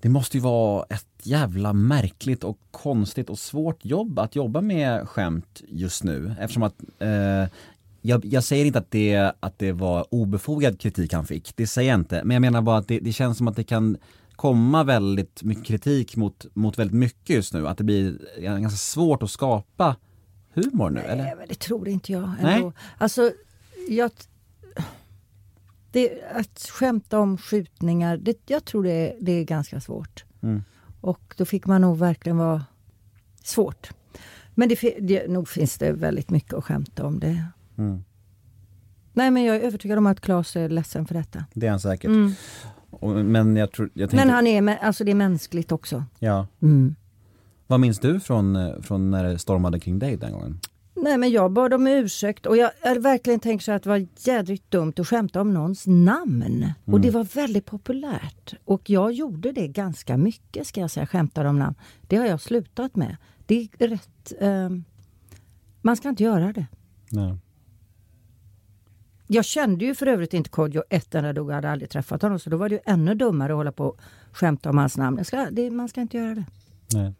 [SPEAKER 4] Det måste ju vara ett jävla märkligt och konstigt och svårt jobb att jobba med skämt just nu eftersom att eh, jag, jag säger inte att det, att det var obefogad kritik han fick, det säger jag inte. Men jag menar bara att det, det känns som att det kan komma väldigt mycket kritik mot, mot väldigt mycket just nu. Att det blir ganska svårt att skapa humor nu, eller?
[SPEAKER 5] Nej, men det tror inte jag. Ändå.
[SPEAKER 4] Nej.
[SPEAKER 5] Alltså, jag... Det, att skämta om skjutningar, det, jag tror det, är- det är ganska svårt. Och då fick man nog verkligen vara svårt. Men det, fi- det, nog finns det väldigt mycket att skämta om det. Nej men jag är övertygad om att Claes är ledsen för detta.
[SPEAKER 4] Det är han säkert. Och, men jag tror, jag tänkte,
[SPEAKER 5] Mm. Men han är, mä- alltså det är mänskligt också.
[SPEAKER 4] ja. Vad minns du från, eh, från när det stormade kring dig den gången?
[SPEAKER 5] Nej men jag bad om ursäkt och jag, jag verkligen tänker så här att det var jädrigt dumt att skämta om någons namn. Och det var väldigt populärt. Och jag gjorde det ganska mycket ska jag säga, skämtade om namn. Det har jag slutat med. Det är rätt... ehm, man ska inte göra det.
[SPEAKER 4] Nej.
[SPEAKER 5] Jag kände ju för övrigt inte Kodjo ett enda dugg, jag hade aldrig träffat honom. Så då var det ju ännu dummare att hålla på och skämta om hans namn. Jag ska, det, man ska inte göra det.
[SPEAKER 4] Nej.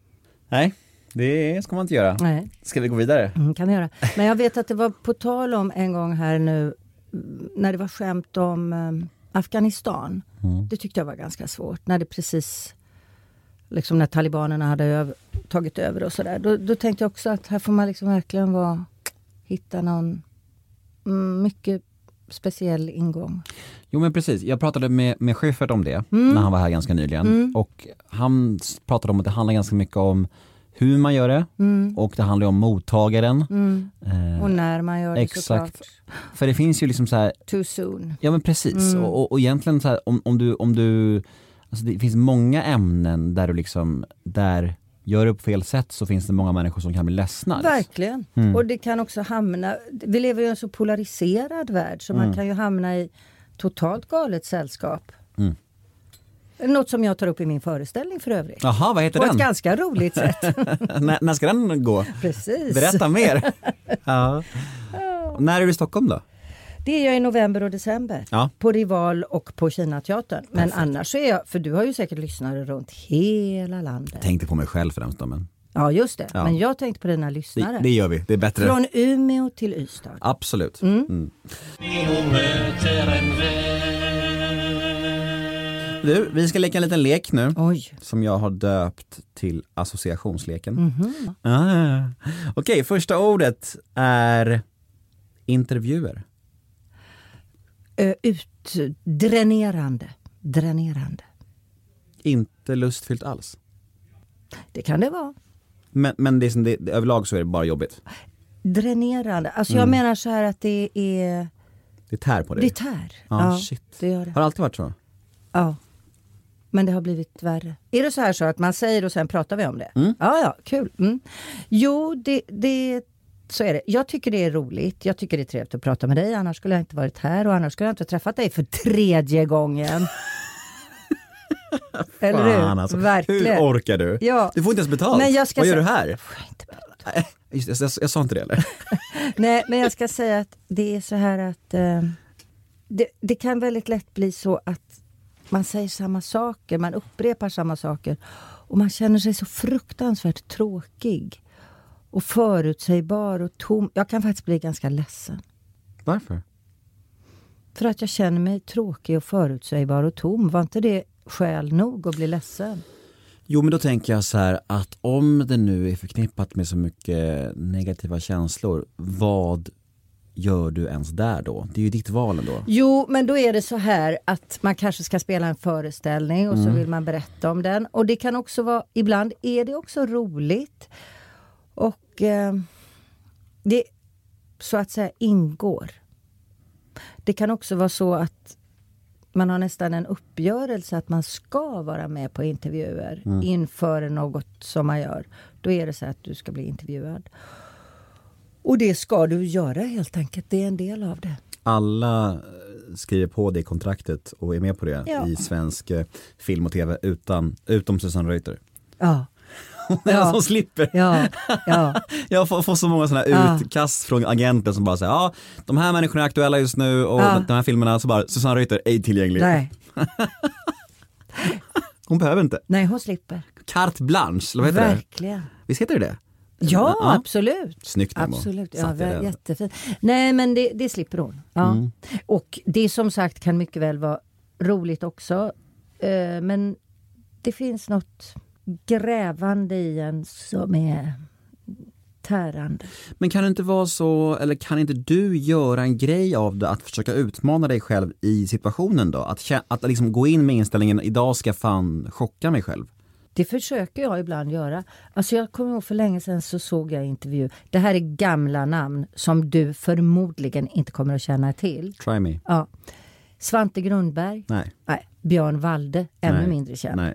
[SPEAKER 4] Nej, det ska man inte göra.
[SPEAKER 5] Nej.
[SPEAKER 4] Ska vi gå vidare?
[SPEAKER 5] Mm, kan vi göra. Men jag vet att det var på tal om en gång här nu mm, när det var skämt om em, Afghanistan. Det tyckte jag var ganska svårt. När det precis, liksom när talibanerna hade öv, tagit över och sådär. Då, då tänkte jag också att här får man liksom verkligen vara, hitta någon mm, mycket speciell ingång.
[SPEAKER 4] Jo men precis, jag pratade med, med Schyffert om det
[SPEAKER 5] Mm.
[SPEAKER 4] när han var här ganska nyligen och han s- pratade om att det handlar ganska mycket om hur man gör det
[SPEAKER 5] Mm.
[SPEAKER 4] och det handlar om mottagaren. Eh,
[SPEAKER 5] Och när man gör det
[SPEAKER 4] exakt.
[SPEAKER 5] Mm. såklart.
[SPEAKER 4] För det finns ju liksom så här,
[SPEAKER 5] Too soon.
[SPEAKER 4] ja men precis och, och, och egentligen så här, om, om du, om du alltså det finns många ämnen där du liksom, där gör du på fel sätt så finns det många människor som kan bli ledsna.
[SPEAKER 5] Verkligen.
[SPEAKER 4] Mm.
[SPEAKER 5] Och det kan också hamna... Vi lever ju i en så polariserad värld så
[SPEAKER 4] Mm.
[SPEAKER 5] man kan ju hamna i totalt galet sällskap.
[SPEAKER 4] Mm.
[SPEAKER 5] Något som jag tar upp i min föreställning för övrigt.
[SPEAKER 4] Jaha, vad heter
[SPEAKER 5] På ett
[SPEAKER 4] den?
[SPEAKER 5] ganska roligt sätt.
[SPEAKER 4] när, när ska den gå?
[SPEAKER 5] Precis.
[SPEAKER 4] Berätta mer. ja. När är du i Stockholm då?
[SPEAKER 5] Det är jag i november och december.
[SPEAKER 4] Ja.
[SPEAKER 5] På Rival och på Kinateatern. Men annars så är jag... För du har ju säkert lyssnare runt hela landet.
[SPEAKER 4] Tänkte på mig själv främst då, men
[SPEAKER 5] Ja, just det.
[SPEAKER 4] Ja.
[SPEAKER 5] Men jag tänkte på dina
[SPEAKER 4] det,
[SPEAKER 5] lyssnare.
[SPEAKER 4] det gör vi, det är bättre.
[SPEAKER 5] Från Umeå till Ystad.
[SPEAKER 4] Absolut. Mm.
[SPEAKER 3] Nino möter en vän.
[SPEAKER 4] Du, vi ska leka en liten lek nu.
[SPEAKER 5] Oj.
[SPEAKER 4] Som jag har döpt till associationsleken.
[SPEAKER 5] Mhm.
[SPEAKER 4] Ah. Okej, första ordet är intervjuer.
[SPEAKER 5] Ö, Utdränerande. Dränerande.
[SPEAKER 4] Inte lustfyllt alls.
[SPEAKER 5] Det kan det vara.
[SPEAKER 4] Men, men det är som det, det- överlag så är det bara jobbigt.
[SPEAKER 5] Dränerande. Alltså jag menar så här att det är...
[SPEAKER 4] Mm. Det tär på dig.
[SPEAKER 5] Det tär.
[SPEAKER 4] Ja, shit.
[SPEAKER 5] det gör det.
[SPEAKER 4] Har det alltid varit så?
[SPEAKER 5] Ja. Men det har blivit värre. Är det så här så att man säger och sen pratar vi om det? Ja, ja, kul. Mm. Jo, det, det, så är det. Jag tycker det är roligt. Jag tycker det är trevligt att prata med dig. Annars skulle jag inte varit här och annars skulle jag inte ha träffat dig för tredje gången. Eller hur?
[SPEAKER 4] Fan, alltså.
[SPEAKER 5] Verkligen.
[SPEAKER 4] Hur orkar du?
[SPEAKER 5] Ja.
[SPEAKER 4] Du får inte ens betalt.
[SPEAKER 5] Men jag ska
[SPEAKER 4] Vad gör
[SPEAKER 5] sä-
[SPEAKER 4] du här?
[SPEAKER 5] Får jag inte med?
[SPEAKER 4] Nej, Just, det, jag, jag sa inte det eller?
[SPEAKER 5] Nej, men jag ska säga att det är så här att eh, det, det kan väldigt lätt bli så att man säger samma saker, man upprepar samma saker och man känner sig så fruktansvärt tråkig och förutsägbar och tom. Jag kan faktiskt bli ganska ledsen
[SPEAKER 4] Varför?
[SPEAKER 5] för att jag känner mig tråkig och förutsägbar och tom. Var inte det skäl nog att bli ledsen?
[SPEAKER 4] Jo men då tänker jag så här att om det nu är förknippat med så mycket negativa känslor, vad gör du ens där då? Det är ju ditt val ändå.
[SPEAKER 5] Jo, men då är det så här att man kanske ska spela en föreställning och så vill man berätta om den. Och det kan också vara, ibland är det också roligt. Och eh, det så att säga ingår. Det kan också vara så att man har nästan en uppgörelse att man ska vara med på intervjuer inför något som man gör. Då är det så att du ska bli intervjuad. Och det ska du göra helt enkelt. Det är en del av det.
[SPEAKER 4] Alla eh, skriver på det kontraktet och är med på det
[SPEAKER 5] Ja.
[SPEAKER 4] i svensk eh, film och tv utan, utom Susanne Reuter.
[SPEAKER 5] Ja.
[SPEAKER 4] Hon är alltså den som slipper.
[SPEAKER 5] Ja, ja.
[SPEAKER 4] Jag får, får så många sådana
[SPEAKER 5] Ja.
[SPEAKER 4] utkast från agenter som bara säger ja, de här människorna är aktuella just nu och
[SPEAKER 5] Ja.
[SPEAKER 4] de här filmerna, så bara Susanne Reuter, ej tillgänglig.
[SPEAKER 5] Nej,
[SPEAKER 4] Hon behöver inte.
[SPEAKER 5] nej, hon slipper.
[SPEAKER 4] Carte blanche, eller vad heter det?
[SPEAKER 5] Verkligen.
[SPEAKER 4] Visst heter det det?
[SPEAKER 5] Ja,
[SPEAKER 4] Ja.
[SPEAKER 5] absolut.
[SPEAKER 4] Snyggt Nemo.
[SPEAKER 5] Absolut, ja,
[SPEAKER 4] Satte
[SPEAKER 5] vä-
[SPEAKER 4] den. Mm.
[SPEAKER 5] jättefint. Nej men det, det slipper hon. Ja. Och det som sagt kan mycket väl vara roligt också. eh, Men det finns något grävande i en som är tärande.
[SPEAKER 4] Men kan det inte vara så, eller kan inte du göra en grej av det, att försöka utmana dig själv i situationen då? Att, kä- att liksom gå in med inställningen, idag ska jag fan chocka mig själv.
[SPEAKER 5] Det försöker jag ibland göra. Alltså jag kommer ihåg för länge sedan så såg jag en intervju. Det här är gamla namn som du förmodligen inte kommer att känna till.
[SPEAKER 4] Try me.
[SPEAKER 5] Ja. Svante Grundberg.
[SPEAKER 4] Nej.
[SPEAKER 5] Nej. Björn Walde, ännu
[SPEAKER 4] Nej.
[SPEAKER 5] mindre känd.
[SPEAKER 4] Nej.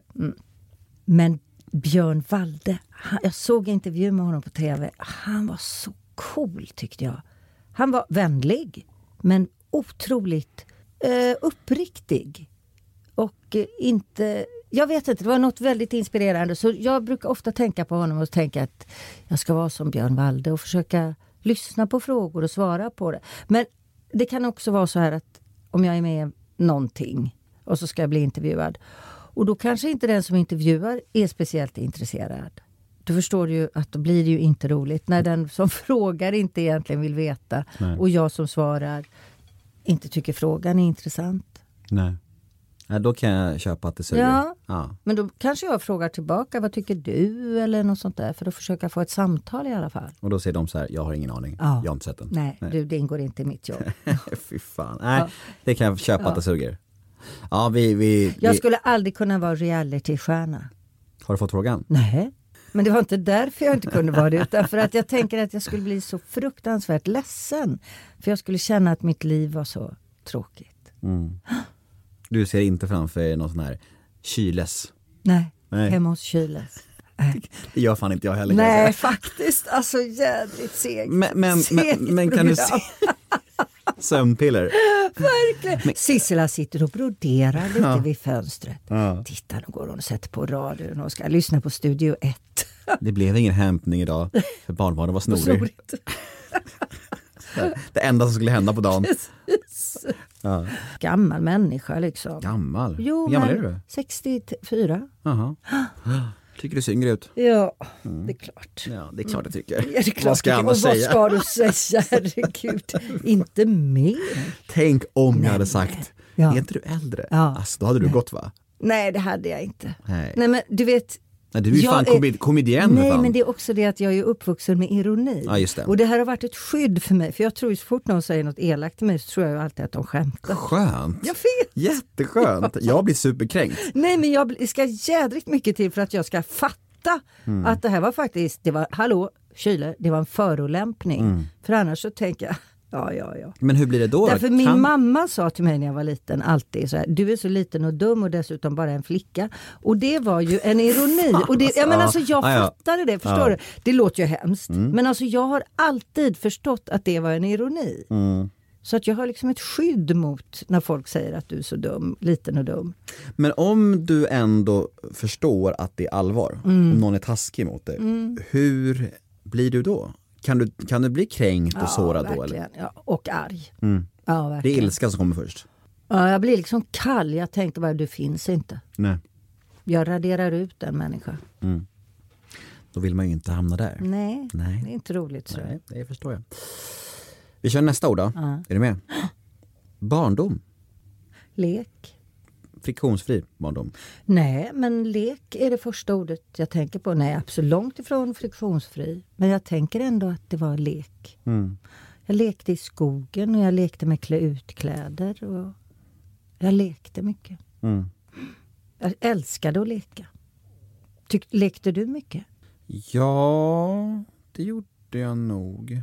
[SPEAKER 5] Men Björn Walde, han, jag såg en intervju med honom på TV. Han var så cool tyckte jag. Han var vänlig, men otroligt eh, uppriktig. Och eh, inte... Jag vet inte, det var något väldigt inspirerande. Så jag brukar ofta tänka på honom och tänka att jag ska vara som Björn Walde och försöka lyssna på frågor och svara på det. Men det kan också vara så här att om jag är med i någonting och så ska jag bli intervjuad. Och då kanske inte den som intervjuar är speciellt intresserad. Då förstår du ju att då blir det ju inte roligt när den som frågar inte egentligen vill veta
[SPEAKER 4] Nej.
[SPEAKER 5] och jag som svarar inte tycker frågan är intressant.
[SPEAKER 4] Nej. Nej, då kan jag köpa att det suger.
[SPEAKER 5] Ja.
[SPEAKER 4] ja.
[SPEAKER 5] Men då kanske jag frågar tillbaka, vad tycker du? Eller något sånt där för att försöka få ett samtal i alla fall.
[SPEAKER 4] Och då säger de så här, jag har ingen aning.
[SPEAKER 5] Ja.
[SPEAKER 4] Jag har inte sett den.
[SPEAKER 5] Nej, du det ingår inte i mitt jobb.
[SPEAKER 4] Fy fan. Nej, det kan jag köpa att det suger. Ja, vi, vi,
[SPEAKER 5] Jag
[SPEAKER 4] vi...
[SPEAKER 5] skulle aldrig kunna vara realitystjärna.
[SPEAKER 4] Har du fått frågan?
[SPEAKER 5] Nej. Men det var inte därför jag inte kunde vara det, utan för att jag tänker att jag skulle bli så fruktansvärt ledsen. För jag skulle känna att mitt liv var så tråkigt.
[SPEAKER 4] Du ser inte framför dig någon sån här kyles?
[SPEAKER 5] Nej,
[SPEAKER 4] Nej.
[SPEAKER 5] hemma hos Kyles.
[SPEAKER 4] Det gör fan inte jag heller. kan jag
[SPEAKER 5] Nej,
[SPEAKER 4] säga.
[SPEAKER 5] faktiskt. Alltså jädrigt segt.
[SPEAKER 4] Men, men,
[SPEAKER 5] Segt
[SPEAKER 4] men, men kan du se?
[SPEAKER 5] program.
[SPEAKER 4] Sömnpiller.
[SPEAKER 5] Verkligen. Sissela sitter och broderar lite vid fönstret. Titta, nu går hon och sätter på radion och ska lyssna på Studio 1.
[SPEAKER 4] Det blev ingen hämtning idag för barnbarnen var snorig.
[SPEAKER 5] Otroligt.
[SPEAKER 4] Det enda som skulle hända på dagen.
[SPEAKER 5] Gammal människa liksom.
[SPEAKER 4] Gammal.
[SPEAKER 5] Jo,
[SPEAKER 4] Hur gammal
[SPEAKER 5] men
[SPEAKER 4] är du?
[SPEAKER 5] 64.
[SPEAKER 4] Jaha. Tycker du ser yngre ut?
[SPEAKER 5] Ja, det är klart.
[SPEAKER 4] Ja, det är klart jag tycker.
[SPEAKER 5] Ja, det är klart.
[SPEAKER 4] Mm. Vad ska jag
[SPEAKER 5] Och
[SPEAKER 4] annars säga?
[SPEAKER 5] Vad ska du säga? Herregud, inte mer.
[SPEAKER 4] Tänk om jag hade sagt,
[SPEAKER 5] Ja.
[SPEAKER 4] är inte du äldre?
[SPEAKER 5] Ja.
[SPEAKER 4] Alltså, då hade du gått va?
[SPEAKER 5] Nej, det hade jag inte.
[SPEAKER 4] Nej.
[SPEAKER 5] Nej, men du vet.
[SPEAKER 4] Nej, du är ju
[SPEAKER 5] jag
[SPEAKER 4] fan komedi- komedienn,
[SPEAKER 5] Nej,
[SPEAKER 4] fan.
[SPEAKER 5] men det är också det att jag är uppvuxen med ironi.
[SPEAKER 4] Ja, just det.
[SPEAKER 5] Och det här har varit ett skydd för mig. För jag tror ju så fort någon säger något elakt till mig så tror jag ju alltid att de skämtar.
[SPEAKER 4] Skönt.
[SPEAKER 5] Jag vet.
[SPEAKER 4] Jätteskönt. Jag blir superkränkt.
[SPEAKER 5] Nej, men jag bl- det ska jädrigt mycket till för att jag ska fatta
[SPEAKER 4] Mm.
[SPEAKER 5] att det här var faktiskt, det var, hallå, Kyle, det var en förolämpning.
[SPEAKER 4] Mm.
[SPEAKER 5] För annars så tänker jag, ja, ja, ja.
[SPEAKER 4] Men hur blir det då? då?
[SPEAKER 5] Därför min
[SPEAKER 4] Kan-
[SPEAKER 5] mamma sa till mig när jag var liten alltid så här, du är så liten och dum och dessutom bara en flicka. Och det var ju en ironi. och det, jag, men
[SPEAKER 4] Ja.
[SPEAKER 5] alltså, jag
[SPEAKER 4] Ja, Mm. ja.
[SPEAKER 5] fattade det, förstår du? Det låter ju hemskt. Men alltså, jag har alltid förstått att det var en ironi.
[SPEAKER 4] Mm.
[SPEAKER 5] Så att jag har liksom ett skydd mot när folk säger att du är så dum, liten och dum.
[SPEAKER 4] Men om du ändå förstår att det är allvar,
[SPEAKER 5] Mm.
[SPEAKER 4] om någon är taskig mot dig, hur blir du då? Kan du, kan du bli kränkt och sårad då? Eller?
[SPEAKER 5] verkligen. Ja, och arg. Ja,
[SPEAKER 4] Det är
[SPEAKER 5] verkligen.
[SPEAKER 4] ilskan som kommer först.
[SPEAKER 5] Ja, jag blir liksom kall. Jag tänker bara, du finns inte.
[SPEAKER 4] Nej.
[SPEAKER 5] Jag raderar ut en människa.
[SPEAKER 4] Då vill man ju inte hamna där.
[SPEAKER 5] Nej,
[SPEAKER 4] Nej.
[SPEAKER 5] det är inte roligt. tror jag.
[SPEAKER 4] Nej, det förstår jag. Vi kör nästa ord då. Är du med? Barndom.
[SPEAKER 5] Lek.
[SPEAKER 4] Friktionsfri barndom.
[SPEAKER 5] Nej, men lek är det första ordet jag tänker på. Nej, absolut långt ifrån friktionsfri. Men jag tänker ändå att det var lek.
[SPEAKER 4] Mm.
[SPEAKER 5] Jag lekte i skogen och jag lekte med klä utkläder. Och jag lekte mycket.
[SPEAKER 4] Mm.
[SPEAKER 5] Jag älskade att leka. Tyck, lekte du mycket?
[SPEAKER 4] Ja, det gjorde jag nog.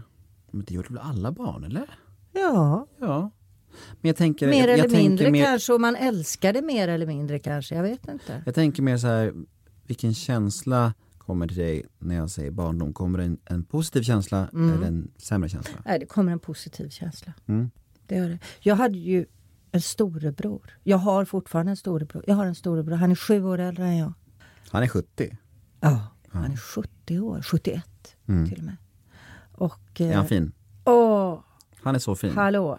[SPEAKER 4] Men det gjorde väl alla barn, eller?
[SPEAKER 5] Ja,
[SPEAKER 4] Ja. Men jag tänker...
[SPEAKER 5] mer
[SPEAKER 4] jag, jag
[SPEAKER 5] eller mindre
[SPEAKER 4] tänker mer,
[SPEAKER 5] kanske. Och man älskade mer eller mindre kanske. Jag vet inte.
[SPEAKER 4] Jag tänker mer så här, vilken känsla kommer till dig när jag säger barndom? Kommer det en, en positiv känsla
[SPEAKER 5] Mm.
[SPEAKER 4] eller en sämre känsla?
[SPEAKER 5] Nej, det kommer en positiv känsla.
[SPEAKER 4] Mm.
[SPEAKER 5] Det gör det. Jag hade ju en storebror. Jag har fortfarande en storebror. Jag har en storebror. Han är sju år äldre än jag.
[SPEAKER 4] Han är 70.
[SPEAKER 5] Ja, han är 70 år. 71
[SPEAKER 4] Mm.
[SPEAKER 5] till och med. Och...
[SPEAKER 4] Är
[SPEAKER 5] eh,
[SPEAKER 4] han fin?
[SPEAKER 5] Åh,
[SPEAKER 4] Han är så fin.
[SPEAKER 5] hallå!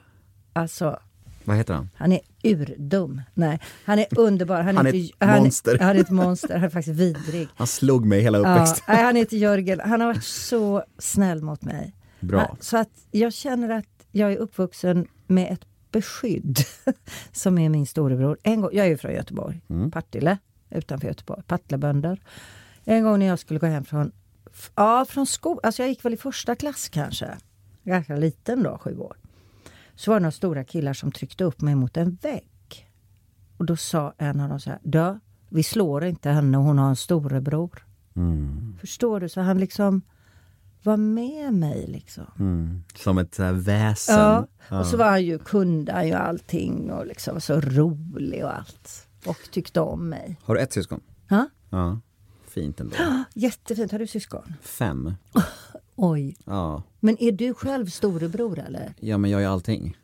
[SPEAKER 5] Alltså,
[SPEAKER 4] Vad heter han?
[SPEAKER 5] han är urdum. Nej, han är underbar. Han är,
[SPEAKER 4] Han är
[SPEAKER 5] inte,
[SPEAKER 4] ett monster.
[SPEAKER 5] Han, han är ett monster. Han är faktiskt vidrig.
[SPEAKER 4] Han slog mig hela
[SPEAKER 5] Ja,
[SPEAKER 4] uppväxten.
[SPEAKER 5] nej, han heter Jörgen. Han har varit så snäll mot mig.
[SPEAKER 4] Bra.
[SPEAKER 5] Ja, Så att jag känner att jag är uppvuxen med ett beskydd som är min storebror. En gång, jag är ju från Göteborg, Partille utanför Göteborg, Partillebönder. En gång när jag skulle gå hem från, f- ja, från skolan, alltså jag gick väl i första klass kanske, ganska liten då, sju år. Så var det några stora killar som tryckte upp mig mot en vägg. Och då sa en av dem så här, du, Vi slår inte henne, hon har en storebror. Mm. Förstår du? Så han liksom var med mig liksom.
[SPEAKER 4] Mm. Som ett så här väsen.
[SPEAKER 5] Ja. Och så var han ju, kunde han ju allting och liksom var så rolig och allt. Och tyckte om mig.
[SPEAKER 4] Har du ett syskon?
[SPEAKER 5] Ja?
[SPEAKER 4] Ja. Fint ändå.
[SPEAKER 5] Jättefint. Har du syskon?
[SPEAKER 4] Fem.
[SPEAKER 5] Oj.
[SPEAKER 4] Ja.
[SPEAKER 5] Men är du själv storebror eller?
[SPEAKER 4] Ja men jag är allting.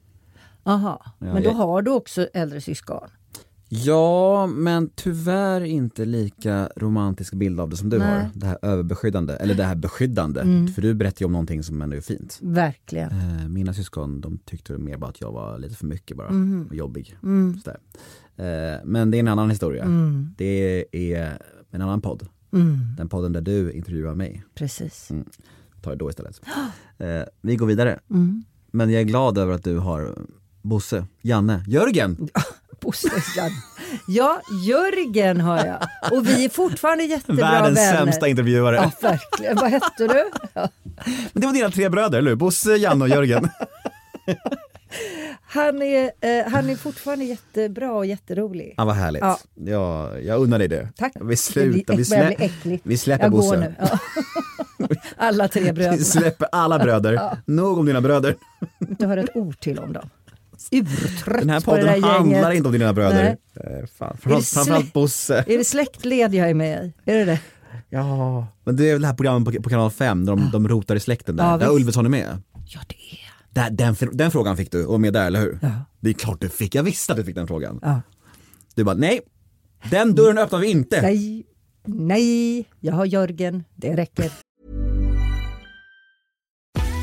[SPEAKER 5] Aha.
[SPEAKER 4] Ja,
[SPEAKER 5] Men då
[SPEAKER 4] jag-
[SPEAKER 5] har du också äldre syskon?
[SPEAKER 4] Ja, men tyvärr inte lika romantisk bild av det som du
[SPEAKER 5] Nej. Mm.
[SPEAKER 4] har. Det här överbeskyddande, eller det här beskyddande. För du berättar ju om någonting som ändå är fint.
[SPEAKER 5] Verkligen.
[SPEAKER 4] Eh, Mina syskon de tyckte mer bara att jag var lite för mycket bara,
[SPEAKER 5] Mhm.
[SPEAKER 4] och jobbig.
[SPEAKER 5] Mm.
[SPEAKER 4] Sådär. Eh, Men det är en annan historia. Det är en annan podd.
[SPEAKER 5] Mm.
[SPEAKER 4] Den podden där du intervjuar mig.
[SPEAKER 5] Precis.
[SPEAKER 4] Tar Mm. det då istället. Eh, Vi går vidare.
[SPEAKER 5] Mm.
[SPEAKER 4] Men jag är glad över att du har eh, Bosse, Janne, Jörgen!
[SPEAKER 5] Bosse Ja, Jörgen har jag. Och vi är fortfarande jättebra
[SPEAKER 4] Världens
[SPEAKER 5] vänner.
[SPEAKER 4] sämsta intervjuare.
[SPEAKER 5] Ja, verkligen. Vad hette du? Ja.
[SPEAKER 4] Men det var dina tre bröder, eller hur? Bosse, Janne och Jörgen.
[SPEAKER 5] Han, är, eh, han är fortfarande jättebra och jätterolig.
[SPEAKER 4] Ja, vad härligt.
[SPEAKER 5] Ja.
[SPEAKER 4] Ja, jag unnar dig det.
[SPEAKER 5] Tack.
[SPEAKER 4] Vi slutar,
[SPEAKER 5] Det
[SPEAKER 4] vi,
[SPEAKER 5] blir- börjar bli
[SPEAKER 4] slä...
[SPEAKER 5] äckligt.
[SPEAKER 4] vi släpper
[SPEAKER 5] jag går
[SPEAKER 4] Bosse.
[SPEAKER 5] nu. Ja. Alla tre
[SPEAKER 4] Vi
[SPEAKER 5] bröderna.
[SPEAKER 4] släpper alla bröder. Nog om dina bröder.
[SPEAKER 5] Inte hör ett ord till om dem. Urtrött
[SPEAKER 4] Den här
[SPEAKER 5] på det
[SPEAKER 4] podden
[SPEAKER 5] där
[SPEAKER 4] handlar
[SPEAKER 5] gänget.
[SPEAKER 4] inte om dina bröder.
[SPEAKER 5] Nej.
[SPEAKER 4] Eh, Fan. Framförallt,
[SPEAKER 5] slä-
[SPEAKER 4] framförallt Bosse.
[SPEAKER 5] Är det släktled jag är med i? Är det det?
[SPEAKER 4] Ja. Men det är väl det här programmet på, på kanal 5, där de, de rotar i släkten där.
[SPEAKER 5] Ja,
[SPEAKER 4] där
[SPEAKER 5] visst.
[SPEAKER 4] Ulveson är med.
[SPEAKER 5] Ja, det är
[SPEAKER 4] Där, den, fr- den frågan fick du och var med där, eller hur?
[SPEAKER 5] Ja.
[SPEAKER 4] Det är klart du fick, jag visste att du fick den frågan.
[SPEAKER 5] ja.
[SPEAKER 4] Du bara, nej, den dörren
[SPEAKER 6] Mm.
[SPEAKER 4] öppnar vi inte.
[SPEAKER 5] Nej, nej, jag har Jörgen. Det räcker.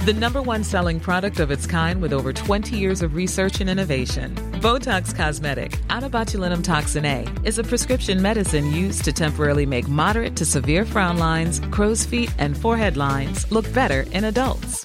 [SPEAKER 7] The number one selling product of its kind with over 20 years of research and innovation. Botox Cosmetic, out of botulinum toxin A, is a prescription medicine used to temporarily make moderate to severe frown lines, crow's feet, and forehead lines look better in adults.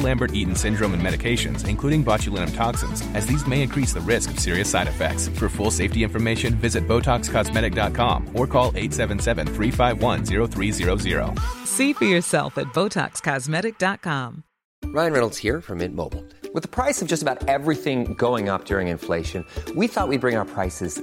[SPEAKER 8] Lambert-Eaton syndrome and medications, including botulinum toxins, as these may increase the risk of serious side effects. For full safety information, visit BotoxCosmetic.com or call 877-351-0300.
[SPEAKER 7] See for yourself at BotoxCosmetic.com.
[SPEAKER 9] Ryan Reynolds here from Mint Mobile. With the price of just about everything going up during inflation, we thought we'd bring our prices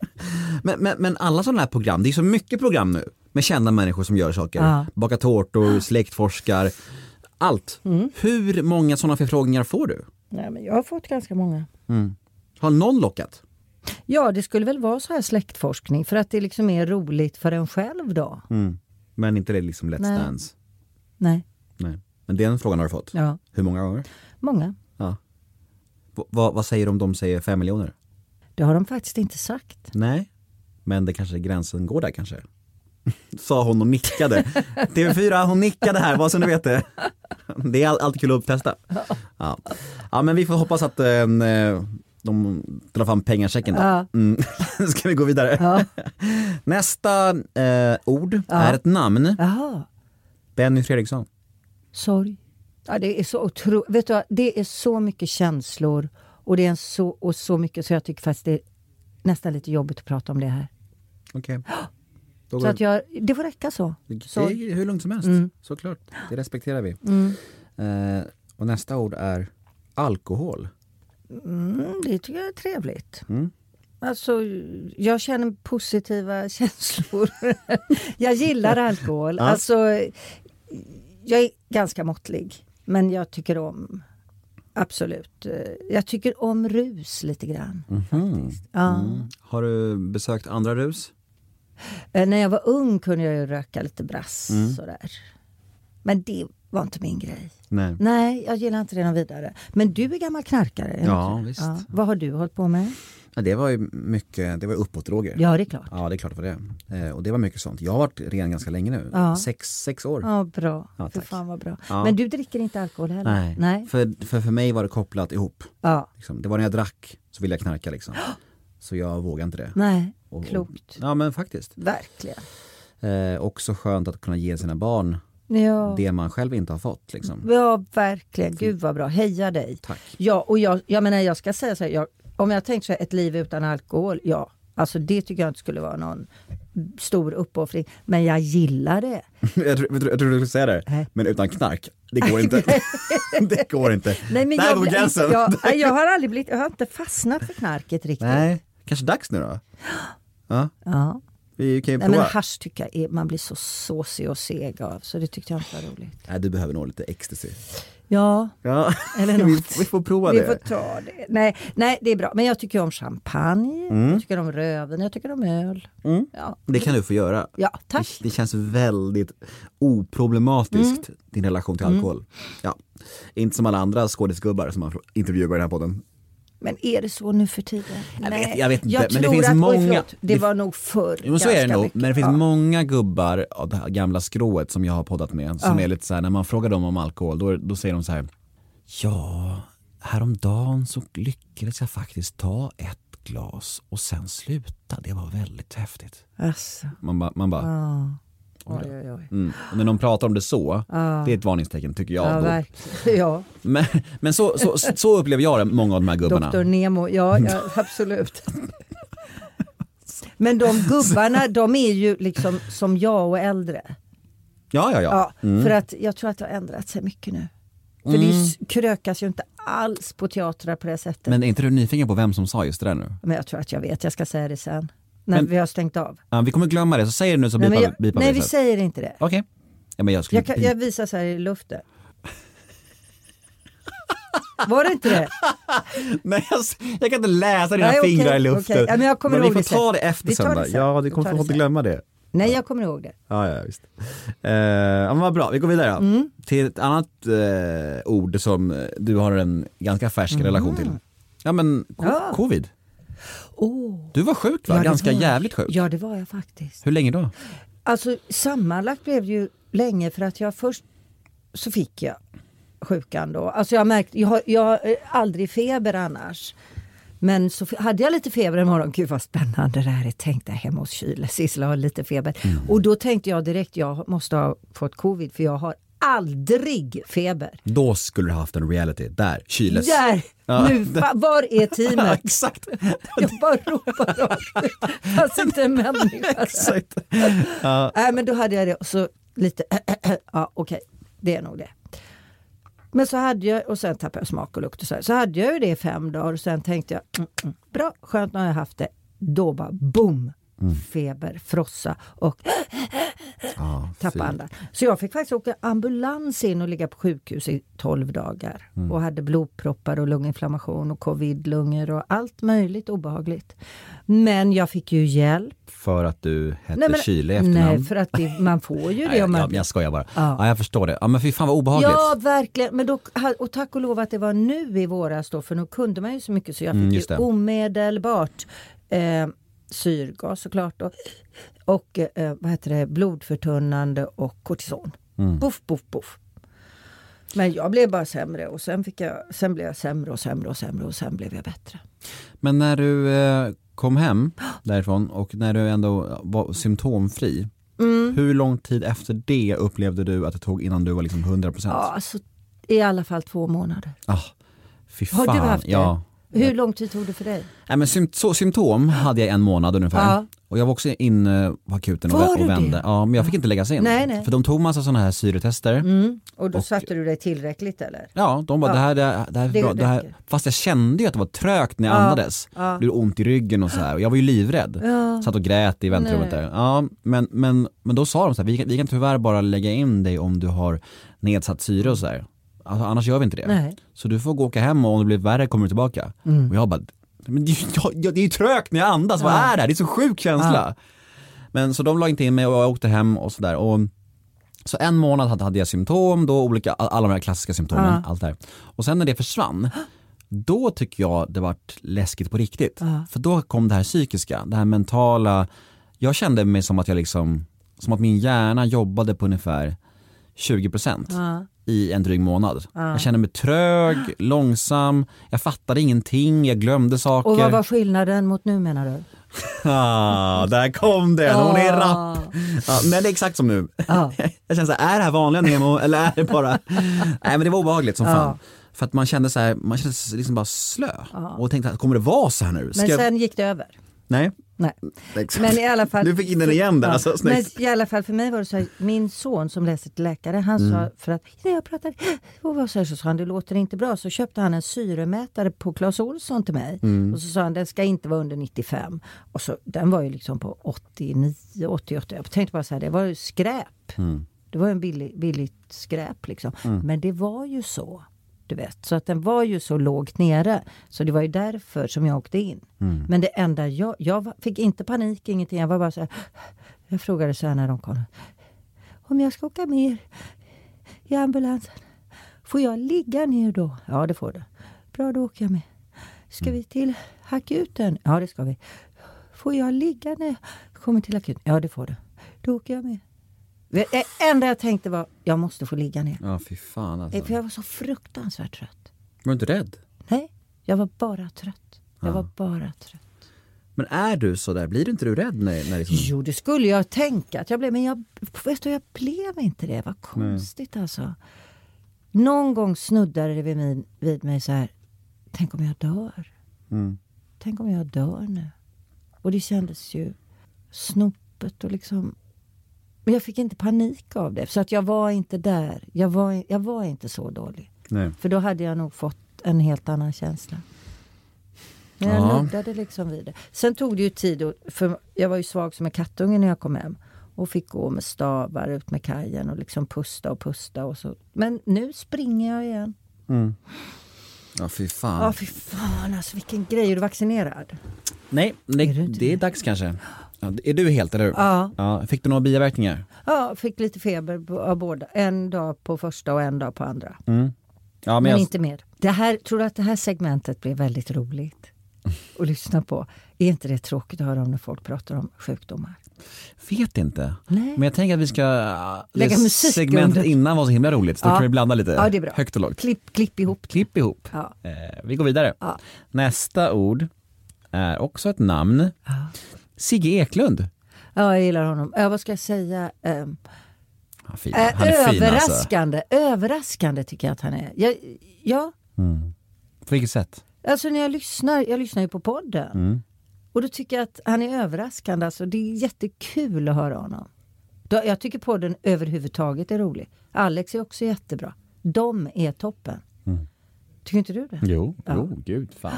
[SPEAKER 4] Men, men, men alla sådana här program, det är så mycket program nu med kända människor som gör saker.
[SPEAKER 5] Ja. Mm.
[SPEAKER 4] Bakar tårtor, släktforskar, allt. Hur många sådana förfrågningar får du?
[SPEAKER 5] Nej, men jag har fått ganska många.
[SPEAKER 4] Har någon lockat?
[SPEAKER 5] Ja, det skulle väl vara så här släktforskning för att det liksom är roligt för en själv då.
[SPEAKER 4] Mm. Men inte det är liksom Let's
[SPEAKER 5] Nej.
[SPEAKER 4] Dance?
[SPEAKER 5] Nej,
[SPEAKER 4] Nej. Men den frågan har du fått?
[SPEAKER 5] ja,
[SPEAKER 4] Hur många gånger?
[SPEAKER 5] många.
[SPEAKER 4] Ja. V- vad, vad säger de om de säger fem miljoner?
[SPEAKER 5] Det har de faktiskt inte sagt.
[SPEAKER 4] Nej, men det kanske gränsen går där kanske. Sa hon och nickade. TV4, hon nickade här, vad så ni vet det. Det är all- alltid kul att testa. Ja. ja, men vi får hoppas att eh, de drar fram pengachecken då.
[SPEAKER 5] Ja.
[SPEAKER 4] Mm. Ska vi gå vidare? Nästa eh, ord är ett namn.
[SPEAKER 5] Jaha,
[SPEAKER 4] Benny Fredriksson.
[SPEAKER 5] sorg. Ja, det är så otro... Vet du vad? Det är så mycket känslor och det är en så, och så mycket så jag tycker faktiskt det är nästan lite jobbigt att prata om det här.
[SPEAKER 4] Okej. Då
[SPEAKER 5] Så
[SPEAKER 4] går
[SPEAKER 5] att jag, det får räcka så. Mm.
[SPEAKER 4] Det
[SPEAKER 5] Sorg.
[SPEAKER 4] är hur lugnt som helst, såklart. Det respekterar vi. Eh, och nästa ord är alkohol.
[SPEAKER 5] Mm, det tycker jag är trevligt.
[SPEAKER 4] Mm.
[SPEAKER 5] Alltså, jag känner positiva känslor. jag gillar alkohol. Alltså, jag är ganska måttlig, men jag tycker om Absolut. eh, Jag tycker om rus lite grann. Faktiskt. Ja.
[SPEAKER 4] Har du besökt andra rus?
[SPEAKER 5] Eh, när jag var ung kunde jag ju röka lite brass
[SPEAKER 4] Mm.
[SPEAKER 5] sådär. Men det var inte min grej.
[SPEAKER 4] Nej.
[SPEAKER 5] Nej, jag gillar inte det någon vidare. Men du är gammal knarkare. är du
[SPEAKER 4] Ja,
[SPEAKER 5] inte det?
[SPEAKER 4] visst.
[SPEAKER 5] Vad har du hållit på med?
[SPEAKER 4] Ja, det var ju mycket, det var ju uppåt Roger.
[SPEAKER 5] Ja, det är klart.
[SPEAKER 4] Ja, det är klart det var det. Eh, och det var mycket sånt. Jag har varit ren ganska länge nu.
[SPEAKER 5] Ja.
[SPEAKER 4] Sex, sex år.
[SPEAKER 5] Ja, bra.
[SPEAKER 4] Ja,
[SPEAKER 5] Fy
[SPEAKER 4] tack.
[SPEAKER 5] fan vad bra.
[SPEAKER 4] Ja.
[SPEAKER 5] Men du dricker inte alkohol heller?
[SPEAKER 4] Nej,
[SPEAKER 5] Nej.
[SPEAKER 4] För, för, för mig var det kopplat ihop.
[SPEAKER 5] Ja.
[SPEAKER 4] Liksom. Det var när jag drack så ville jag knarka liksom. Så jag vågade inte det.
[SPEAKER 5] Nej.
[SPEAKER 4] Och- och-
[SPEAKER 5] Klokt.
[SPEAKER 4] Ja men faktiskt.
[SPEAKER 5] Verkligen.
[SPEAKER 4] Eh, också skönt att kunna ge sina barn
[SPEAKER 5] Ja.
[SPEAKER 4] det man själv inte har fått liksom.
[SPEAKER 5] Ja, verkligen. Gud vad bra. Heja dig.
[SPEAKER 4] Tack.
[SPEAKER 5] Ja, och jag, jag menar jag ska säga så här, jag, om jag tänker så här, ett liv utan alkohol, ja. Alltså det tycker jag inte skulle vara någon stor uppoffring. Men jag gillar det.
[SPEAKER 4] jag, tror, jag, tror, jag tror du skulle säga det,
[SPEAKER 5] Nej.
[SPEAKER 4] men utan knark, det går inte. det går inte. Där
[SPEAKER 5] jag,
[SPEAKER 4] går
[SPEAKER 5] blir-
[SPEAKER 4] gränsen.
[SPEAKER 5] jag, nej, jag har aldrig blivit, jag har inte fastnat för knarket riktigt.
[SPEAKER 4] Nej, kanske dags nu då? Ja,
[SPEAKER 5] Ja.
[SPEAKER 4] vi kan ju
[SPEAKER 5] Nej men
[SPEAKER 4] prova.
[SPEAKER 5] hasch tycker jag är, man blir så såsig och seg av. Så det tyckte jag inte var roligt.
[SPEAKER 4] Nej, du behöver nog lite ecstasy.
[SPEAKER 5] Ja,
[SPEAKER 4] Ja,
[SPEAKER 5] Eller
[SPEAKER 4] vi,
[SPEAKER 5] något.
[SPEAKER 4] vi får prova
[SPEAKER 5] vi
[SPEAKER 4] det.
[SPEAKER 5] får ta det. Nej, nej, det är bra. Men jag tycker om champagne,
[SPEAKER 4] Mm.
[SPEAKER 5] jag tycker om röven, jag tycker om öl. Ja.
[SPEAKER 4] Det kan du få göra.
[SPEAKER 5] ja, tack.
[SPEAKER 4] Det känns väldigt oproblematiskt,
[SPEAKER 5] Mm.
[SPEAKER 4] din relation till alkohol. Ja. Inte som alla andra skådisgubbar som man intervjuar i den här podden.
[SPEAKER 5] Men är det så nu för tiden?
[SPEAKER 4] Jag
[SPEAKER 5] Nej.
[SPEAKER 4] vet- jag vet inte,
[SPEAKER 5] Jag
[SPEAKER 4] men det
[SPEAKER 5] tror
[SPEAKER 4] finns
[SPEAKER 5] att, oj,
[SPEAKER 4] många-
[SPEAKER 5] förlåt, det
[SPEAKER 4] det-
[SPEAKER 5] var nog förr.
[SPEAKER 4] Jo, men så är det
[SPEAKER 5] ganska
[SPEAKER 4] nog,
[SPEAKER 5] mycket.
[SPEAKER 4] men det finns
[SPEAKER 5] Ja.
[SPEAKER 4] många gubbar av det här gamla skrået som jag har poddat med som
[SPEAKER 5] Ja.
[SPEAKER 4] är lite så här, när man frågar dem om alkohol då, då säger de så här Ja, häromdagen så lyckades jag faktiskt ta ett glas och sen sluta, det var väldigt häftigt.
[SPEAKER 5] Alltså,
[SPEAKER 4] Man bara, man bara
[SPEAKER 5] ja.
[SPEAKER 4] Oj
[SPEAKER 5] Oj,
[SPEAKER 4] då.
[SPEAKER 5] oj, oj.
[SPEAKER 4] mm. Och när någon pratar om det så,
[SPEAKER 5] Ja.
[SPEAKER 4] det är ett varningstecken tycker jag.
[SPEAKER 5] Ja,
[SPEAKER 4] då.
[SPEAKER 5] verkligen. Ja,
[SPEAKER 4] Men, men så, så, så upplever jag det, många av de här gubbarna.
[SPEAKER 5] Dr Nemo, ja, ja absolut. Men de gubbarna, de är ju liksom som jag och äldre.
[SPEAKER 4] Ja, ja, ja.
[SPEAKER 5] Ja, För att jag tror att det har ändrat sig mycket nu. För det är ju- krökas ju inte alls på teatrar på det sättet. Men,
[SPEAKER 4] Mm. Men är inte du nyfiken på vem som sa just det där nu?
[SPEAKER 5] jag tror att jag vet, jag ska säga det sen. När
[SPEAKER 4] Men-
[SPEAKER 5] vi har stängt av.
[SPEAKER 4] Ja, vi kommer glömma det, så säger du nu så
[SPEAKER 5] Nej,
[SPEAKER 4] bipar
[SPEAKER 5] men jag,
[SPEAKER 4] bipar
[SPEAKER 5] nej
[SPEAKER 4] vi
[SPEAKER 5] vi
[SPEAKER 4] sen.
[SPEAKER 5] säger inte det.
[SPEAKER 4] Okej. Ja, men jag skulle
[SPEAKER 5] Jag, kan, jag visar så här i luften. Var det inte det?
[SPEAKER 4] Nej, jag, s- jag kan inte läsa dina
[SPEAKER 5] Nej, okej,
[SPEAKER 4] fingrar i luften.
[SPEAKER 5] okej. Ja, men jag kommer
[SPEAKER 4] vi
[SPEAKER 5] ihåg
[SPEAKER 4] får
[SPEAKER 5] det sen.
[SPEAKER 4] ta det efter
[SPEAKER 5] Vi tar det
[SPEAKER 4] söndag.
[SPEAKER 5] sen.
[SPEAKER 4] Ja, du
[SPEAKER 5] Vi tar
[SPEAKER 4] kommer
[SPEAKER 5] det
[SPEAKER 4] få inte
[SPEAKER 5] sen.
[SPEAKER 4] glömma det.
[SPEAKER 5] Nej, jag kommer ihåg det.
[SPEAKER 4] Ja, ja, visst. Eh, ja, men vad bra, vi går vidare då.
[SPEAKER 5] Mm.
[SPEAKER 4] Till ett annat eh, ord som eh, du har en ganska färsk relation till. Ja men co-
[SPEAKER 5] Mm. Ja.
[SPEAKER 4] covid.
[SPEAKER 5] Oh,
[SPEAKER 4] Du var sjuk va? ganska jävligt sjuk.
[SPEAKER 5] Ja, det var jag faktiskt.
[SPEAKER 4] Hur länge då?
[SPEAKER 5] Alltså sammanlagt blev det ju länge för att jag först så fick jag sjukan då. Alltså jag märkte, jag har, jag har eh, aldrig feber annars. Men så f- hade jag lite feber en morgon, gud vad spännande det här är, tänk dig hemma hos Kyle, Sissela har lite feber.
[SPEAKER 4] Mm.
[SPEAKER 5] Och då tänkte jag direkt, jag måste ha fått covid för jag har aldrig feber.
[SPEAKER 4] Då skulle du ha haft en reality, där, kyles.
[SPEAKER 5] Där!
[SPEAKER 4] Ja.
[SPEAKER 5] Nu, va, var är
[SPEAKER 4] Ja,
[SPEAKER 5] teamet?
[SPEAKER 4] exakt.
[SPEAKER 5] Jag bara ropar rakt ut. Fanns inte en människa.
[SPEAKER 4] exakt.
[SPEAKER 5] Nej men då hade jag det och så lite, ja okej, det är nog det. Men så hade jag, och sen tappade jag smak och lukt och så här. Så hade jag ju det i fem dagar och sen tänkte jag, mm, mm, bra, skönt nu har jag haft det. Då bara boom!
[SPEAKER 4] Mm.
[SPEAKER 5] Feber, frossa och
[SPEAKER 4] Ja,
[SPEAKER 5] tappa andan. Så jag fick faktiskt åka ambulans in och ligga på sjukhus i 12 dagar.
[SPEAKER 4] Mm.
[SPEAKER 5] Och hade blodproppar och lunginflammation och covid-lungor och allt möjligt obehagligt. Men jag fick ju hjälp.
[SPEAKER 4] För att du hette
[SPEAKER 5] men,
[SPEAKER 4] Kyle i efternamn.
[SPEAKER 5] nej för att det, man får ju
[SPEAKER 4] Nej,
[SPEAKER 5] det om
[SPEAKER 4] jag,
[SPEAKER 5] man...
[SPEAKER 4] jag, jag skojar bara.
[SPEAKER 5] Ja.
[SPEAKER 4] Ja. jag förstår det. Ja men fy fan vad obehagligt.
[SPEAKER 5] Ja, verkligen. Men då, och tack och lov att det var nu i våras då, för nu kunde man ju så mycket så jag fick
[SPEAKER 4] Mm, just
[SPEAKER 5] ju
[SPEAKER 4] det.
[SPEAKER 5] omedelbart eh, syrgas såklart då. och eh, vad heter det, blodförtunnande och kortison.
[SPEAKER 4] Mm.
[SPEAKER 5] Puff, puff, puff. Men jag blev bara sämre och sen, fick jag, sen blev jag sämre och sämre och sämre och sen blev jag bättre.
[SPEAKER 4] Men när du eh, kom hem därifrån och när du ändå var symptomfri,
[SPEAKER 5] Mm.
[SPEAKER 4] hur lång tid efter det upplevde du att det tog innan du var liksom 100%?
[SPEAKER 5] Ja, alltså, I alla fall två månader.
[SPEAKER 4] Ah, fy
[SPEAKER 5] Har
[SPEAKER 4] fan.
[SPEAKER 5] du haft det?
[SPEAKER 4] ja.
[SPEAKER 5] Hur lång tid tog det för dig?
[SPEAKER 4] Nej, men sym- så, symptom hade jag en månad ungefär.
[SPEAKER 5] Ja.
[SPEAKER 4] Och jag var också inne på akuten och,
[SPEAKER 5] Var
[SPEAKER 4] vä-
[SPEAKER 5] du
[SPEAKER 4] och vände.
[SPEAKER 5] det?
[SPEAKER 4] Ja, men jag fick inte läggas in.
[SPEAKER 5] Nej, nej.
[SPEAKER 4] För de tog massa sådana här syretester.
[SPEAKER 5] Och då
[SPEAKER 4] Och-
[SPEAKER 5] satte du dig tillräckligt eller?
[SPEAKER 4] Ja, de bara
[SPEAKER 5] Mm. Ja.
[SPEAKER 4] det här, det här, det här, är
[SPEAKER 5] Det
[SPEAKER 4] bra, det här.
[SPEAKER 5] räcker.
[SPEAKER 4] Font jag kände ju att det var trögt när jag andades. Det gjorde ont i ryggen och så här. Och jag var ju livrädd. Satt och grät i väntrummet där. Ja, men, men, men då sa de så här, vi kan, vi kan tyvärr bara lägga in dig om du har nedsatt syre och så här. Alltså, annars gör vi inte det.
[SPEAKER 5] Nej.
[SPEAKER 4] Så du får gå och åka hem och om det blir värre kommer du tillbaka. Och jag bara, men det, är ju- jag, jag, det är ju trögt när jag andas, vad är det här? Det är så sjuk känsla. Men så de la inte in mig och jag åkte hem och sådär. Och så en månad hade, hade jag symptom, då olika, alla de här klassiska symptomen, allt det här. Och sen när det försvann, då tycker jag det vart läskigt på riktigt. För då kom det här psykiska, det här mentala. Jag kände mig som att jag liksom, som att min hjärna jobbade på ungefär 20% i en dryg månad. Jag kände mig trög, långsam, jag fattade ingenting, jag glömde saker.
[SPEAKER 5] Och vad var skillnaden mot nu menar du?
[SPEAKER 4] Ah, där kom den, hon är rapp. Ja, men det är exakt som nu. Jag känner så här, är det här vanliga Nemo eller är det bara... Nej men det var obehagligt som fan. För att man kände så här, man kände sig liksom bara slö. Och tänkte, kommer det vara så här nu? Ska
[SPEAKER 5] Men
[SPEAKER 4] jag-
[SPEAKER 5] sen gick det över.
[SPEAKER 4] Nej.
[SPEAKER 5] Nej.
[SPEAKER 4] Exakt.
[SPEAKER 5] Men i alla fall,
[SPEAKER 4] Du fick in den igen där, alltså,
[SPEAKER 5] men
[SPEAKER 4] snyggt.
[SPEAKER 5] i alla fall för mig var det så här, min son som läste till läkare, han
[SPEAKER 4] Mm.
[SPEAKER 5] sa för att när jag pratade och var så här så sa han det låter inte bra så köpte han en syremätare på Clas Ohlson till mig
[SPEAKER 4] Mm.
[SPEAKER 5] och så sa han den ska inte vara under 95 och så den var ju liksom på 89, 88. Jag tänkte bara så här det var ju skräp.
[SPEAKER 4] Mm.
[SPEAKER 5] Det var ju en billig, billigt skräp liksom. Men det var ju så. Du vet. Så att den var ju så lågt nere. Så det var ju därför som jag åkte in. Men det enda jag, jag var- fick inte panik, ingenting. Jag var bara så här. Jag frågade så här när de kom. Om jag ska åka med er i ambulansen, får jag ligga ner då? Ja, det får du. Bra, då åker jag med. Ska vi till akuten? Ja, det ska vi. Får jag ligga när jag kommer till akuten? Ja, det får du. Då åker jag med. Det enda jag tänkte var, jag måste få ligga ner.
[SPEAKER 4] Ja fy fan alltså.
[SPEAKER 5] Eh, För jag var så fruktansvärt trött.
[SPEAKER 4] Var du inte rädd?
[SPEAKER 5] Nej, jag var bara trött. Jag var bara trött.
[SPEAKER 4] Men är du så där, blir du inte du rädd när, när liksom...
[SPEAKER 5] Jo, det skulle jag tänka att jag blev, men jag, vet du, jag blev inte det. Vad konstigt alltså. Någon gång snuddade det vid, min, vid mig så här, tänk om jag dör.
[SPEAKER 4] Mm.
[SPEAKER 5] Tänk om jag dör nu. Och det kändes ju snopet och liksom. Men jag fick inte panik av det. Så att jag var inte där. Jag var, jag var inte så dålig.
[SPEAKER 4] Nej.
[SPEAKER 5] För då hade jag nog fått en helt annan känsla. Men jag
[SPEAKER 4] Ja.
[SPEAKER 5] nuddade liksom vid det. Sen tog det ju tid, och, för jag var ju svag som en kattunge när jag kom hem. Och fick gå med stavar ut med kajen och liksom pusta och pusta och så. Men nu springer jag igen.
[SPEAKER 4] Ja fy
[SPEAKER 5] Ja,
[SPEAKER 4] fan.
[SPEAKER 5] fy fan alltså vilken grej. Är du vaccinerad?
[SPEAKER 4] Nej, det,
[SPEAKER 5] Är du inte
[SPEAKER 4] det är dags kanske. Ja, är du helt eller hur?
[SPEAKER 5] Ja.
[SPEAKER 4] ja. Fick du några biverkningar?
[SPEAKER 5] Ja, fick lite feber b- av båda. En dag på första och en dag på andra.
[SPEAKER 4] Mm. Ja men,
[SPEAKER 5] Men
[SPEAKER 4] jag...
[SPEAKER 5] inte mer. Det här, tror du att det här segmentet blev väldigt roligt att lyssna på? Är inte det tråkigt att höra om när folk pratar om sjukdomar?
[SPEAKER 4] Vet inte.
[SPEAKER 5] Nej.
[SPEAKER 4] Men jag tänker att vi ska... äh,
[SPEAKER 5] Lägga
[SPEAKER 4] det
[SPEAKER 5] musik
[SPEAKER 4] Segmentet
[SPEAKER 5] under.
[SPEAKER 4] innan var så himla roligt, så då
[SPEAKER 5] Ja.
[SPEAKER 4] kan vi blanda lite
[SPEAKER 5] Ja, det är bra.
[SPEAKER 4] högt och lågt.
[SPEAKER 5] Klipp, klipp ihop.
[SPEAKER 4] Klipp ihop.
[SPEAKER 5] Ja.
[SPEAKER 4] Eh, vi går vidare. Nästa ord är också ett namn. Sigge Eklund.
[SPEAKER 5] ja, jag gillar honom. Ja, vad ska jag säga? Ehm,
[SPEAKER 4] Ja, fin.
[SPEAKER 5] eh,
[SPEAKER 4] Han är fin alltså.
[SPEAKER 5] överraskande, överraskande tycker jag att han är. Jag, ja,
[SPEAKER 4] På vilket sätt?
[SPEAKER 5] alltså när jag lyssnar, jag lyssnar ju på podden.
[SPEAKER 4] Mm.
[SPEAKER 5] Och då tycker jag att han är överraskande. Alltså, det är jättekul att höra honom. Då- Jag tycker podden överhuvudtaget är rolig. Alex är också jättebra. De är toppen. Tycker inte du det?
[SPEAKER 4] Mm. Jo, jo gud fan.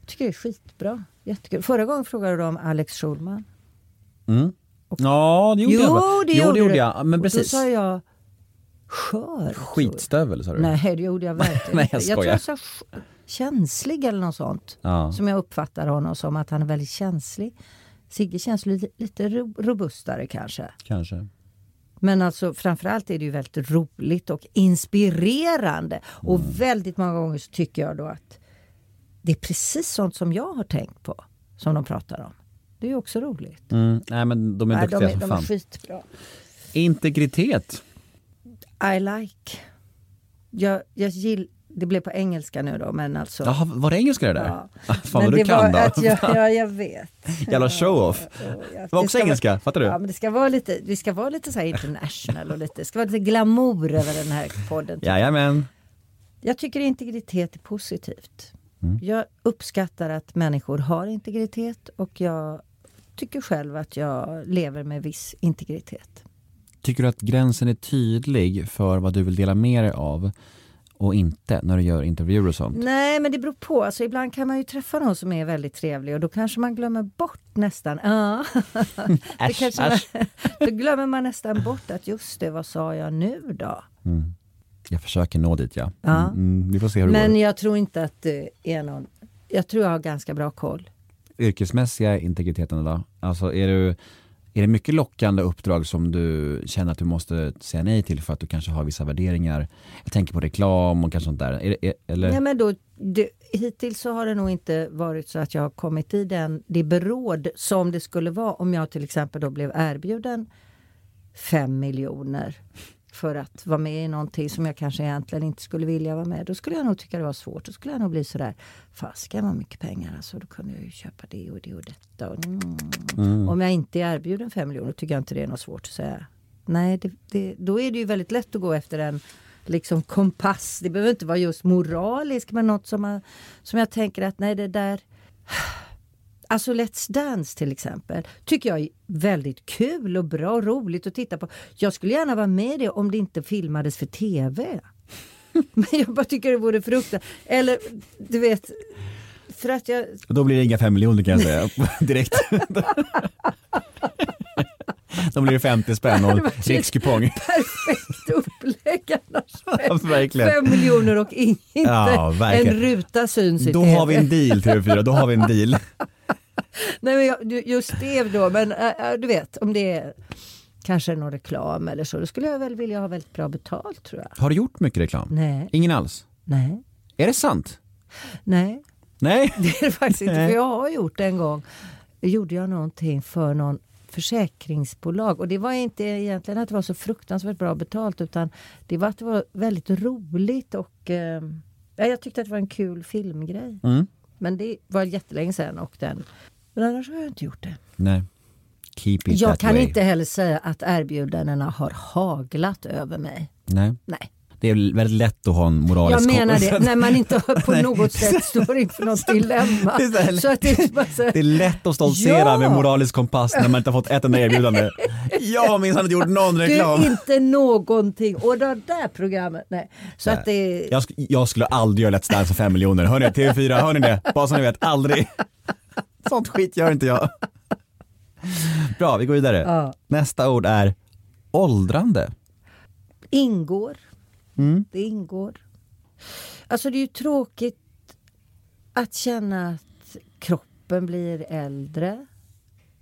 [SPEAKER 5] Jag tycker det är skitbra. Jättekul. Förra gången frågade du om Alex Schulman.
[SPEAKER 4] Ja, det gjorde jag. va?
[SPEAKER 5] det
[SPEAKER 4] jo,
[SPEAKER 5] gjorde
[SPEAKER 4] det gjorde
[SPEAKER 5] du.
[SPEAKER 4] jag. Men
[SPEAKER 5] Och
[SPEAKER 4] precis.
[SPEAKER 5] Då sa jag skör.
[SPEAKER 4] Skitstövel sa du.
[SPEAKER 5] Nej, det gjorde jag verkligen
[SPEAKER 4] Nej,
[SPEAKER 5] inte.
[SPEAKER 4] jag
[SPEAKER 5] tror
[SPEAKER 4] skojar.
[SPEAKER 5] jag sa sk- känslig eller något sånt.
[SPEAKER 4] Ja.
[SPEAKER 5] Som jag uppfattar honom som, att han är väldigt känslig. Sigge känns lite, lite ro- robustare kanske.
[SPEAKER 4] Kanske.
[SPEAKER 5] Men alltså framförallt är det ju väldigt roligt och inspirerande. Och
[SPEAKER 4] Mm.
[SPEAKER 5] väldigt många gånger så tycker jag då att det är precis sånt som jag har tänkt på. Som de pratar om. Det är ju också roligt.
[SPEAKER 4] Mm, nej men de är
[SPEAKER 5] Nej, de,
[SPEAKER 4] duktiga
[SPEAKER 5] är,
[SPEAKER 4] som
[SPEAKER 5] de är
[SPEAKER 4] fan.
[SPEAKER 5] skitbra.
[SPEAKER 4] Integritet.
[SPEAKER 5] I like. Jag, jag gill, det blev på engelska nu då, men alltså.
[SPEAKER 4] Jaha, var det engelska det där?
[SPEAKER 5] Ja.
[SPEAKER 4] Ah, Fan
[SPEAKER 5] men
[SPEAKER 4] vad du
[SPEAKER 5] det var
[SPEAKER 4] kan då.
[SPEAKER 5] att jag, ja, jag vet.
[SPEAKER 4] Jävla show-off.
[SPEAKER 5] Det
[SPEAKER 4] var också
[SPEAKER 5] ska
[SPEAKER 4] engelska,
[SPEAKER 5] vara-
[SPEAKER 4] fattar du?
[SPEAKER 5] Ja, men det ska vara lite, det ska vara lite så här international och lite, det ska vara lite glamour över den här podden. typ.
[SPEAKER 4] Jajamän.
[SPEAKER 5] Jag tycker integritet är positivt.
[SPEAKER 4] Mm.
[SPEAKER 5] Jag uppskattar att människor har integritet och jag tycker själv att jag lever med viss integritet.
[SPEAKER 4] Tycker du att gränsen är tydlig för vad du vill dela med dig av och inte när du gör intervjuer och sånt?
[SPEAKER 5] Nej, men det beror på. Alltså, ibland kan man ju träffa någon som är väldigt trevlig och då kanske man glömmer bort nästan. Ja. Då,
[SPEAKER 4] Äsch,
[SPEAKER 5] kanske man, då glömmer man nästan bort att just det, vad sa jag nu då?
[SPEAKER 4] Jag försöker nå dit ja.
[SPEAKER 5] Ja.
[SPEAKER 4] Mm, vi får se hur det
[SPEAKER 5] Men
[SPEAKER 4] går.
[SPEAKER 5] jag tror inte att det är någon... Jag tror jag har ganska bra koll.
[SPEAKER 4] Yrkesmässiga integriteten då? Alltså är du Är det mycket lockande uppdrag som du känner att du måste säga nej till för att du kanske har vissa värderingar? Jag tänker på reklam och kanske sånt där. Är det, är, eller?
[SPEAKER 5] Nej, men då, det, hittills så har det nog inte varit så att jag har kommit i den, det beråd som det skulle vara om jag till exempel då blev erbjuden fem miljoner för att vara med i någonting som jag kanske egentligen inte skulle vilja vara med Då skulle jag nog tycka det var svårt. Då skulle jag nog bli sådär, fasken vad mycket pengar alltså. Då kunde jag ju köpa det och det och detta. Och, mm. Om jag inte är erbjuden fem miljoner tycker jag inte det är något svårt att säga. Nej, det, det, då är det ju väldigt lätt att gå efter en liksom kompass. Det behöver inte vara just moralisk men något som, man, som jag tänker att nej det där Alltså Let's Dance till exempel tycker jag är väldigt kul och bra och roligt att titta på. Jag skulle gärna vara med i det om det inte filmades för TV. Men jag bara tycker det vore fruktansvärt. Eller du vet, för att jag...
[SPEAKER 4] Då blir det inga fem miljoner kan jag säga direkt. Då blir det 50 spänn
[SPEAKER 5] Det
[SPEAKER 4] och
[SPEAKER 5] var
[SPEAKER 4] rikskupong.
[SPEAKER 5] Perfekt upplägg annars.
[SPEAKER 4] Verkligen.
[SPEAKER 5] Fem miljoner och in, inte
[SPEAKER 4] Ja, verkligen.
[SPEAKER 5] en ruta syns i
[SPEAKER 4] Då
[SPEAKER 5] TV.
[SPEAKER 4] har vi en deal TV4, då har vi en deal.
[SPEAKER 5] Nej, men jag, ju- just det då, men äh, äh, du vet om det är kanske någon reklam eller så, då skulle jag väl vilja ha väldigt bra betalt tror jag.
[SPEAKER 4] Har du gjort mycket reklam?
[SPEAKER 5] Nej.
[SPEAKER 4] Ingen alls?
[SPEAKER 5] Nej,
[SPEAKER 4] Är det sant?
[SPEAKER 5] nej,
[SPEAKER 4] Nej.
[SPEAKER 5] det är det faktiskt inte. För jag har gjort det en gång, gjorde jag någonting för någon försäkringsbolag och det var inte egentligen att det var så fruktansvärt bra betalt utan det var att det var väldigt roligt och eh, ja, jag tyckte att det var en kul filmgrej.
[SPEAKER 4] Mm.
[SPEAKER 5] Men det var jättelänge sedan och den, men annars har jag inte gjort det.
[SPEAKER 4] Nej. Keep it
[SPEAKER 5] Jag
[SPEAKER 4] that
[SPEAKER 5] kan
[SPEAKER 4] way.
[SPEAKER 5] inte heller säga att erbjudandena har haglat över mig.
[SPEAKER 4] Nej.
[SPEAKER 5] Nej,
[SPEAKER 4] Det är väl väldigt lätt att ha en
[SPEAKER 5] jag
[SPEAKER 4] moralisk
[SPEAKER 5] menar
[SPEAKER 4] kompass.
[SPEAKER 5] det. När man inte på något sätt står inför något dilemma.
[SPEAKER 4] Det är så här-
[SPEAKER 5] Så att det är bara så här-
[SPEAKER 4] Det är lätt att stoltsera
[SPEAKER 5] Ja.
[SPEAKER 4] med moralisk kompass när man inte har fått ett enda erbjudande. Jag har minsann inte gjort någon
[SPEAKER 5] det
[SPEAKER 4] reklam.
[SPEAKER 5] är inte någonting. Och det där programmet, nej. Så att det...
[SPEAKER 4] Jag, sk- jag skulle aldrig göra Let's Dance för fem miljoner. Hörni, TV4, hör ni det? Bara så ni vet, aldrig. Sånt skit gör inte jag. Bra, vi går vidare.
[SPEAKER 5] Ja.
[SPEAKER 4] Nästa ord är åldrande.
[SPEAKER 5] ingår. Det ingår. Alltså det är ju tråkigt att känna att kroppen blir äldre.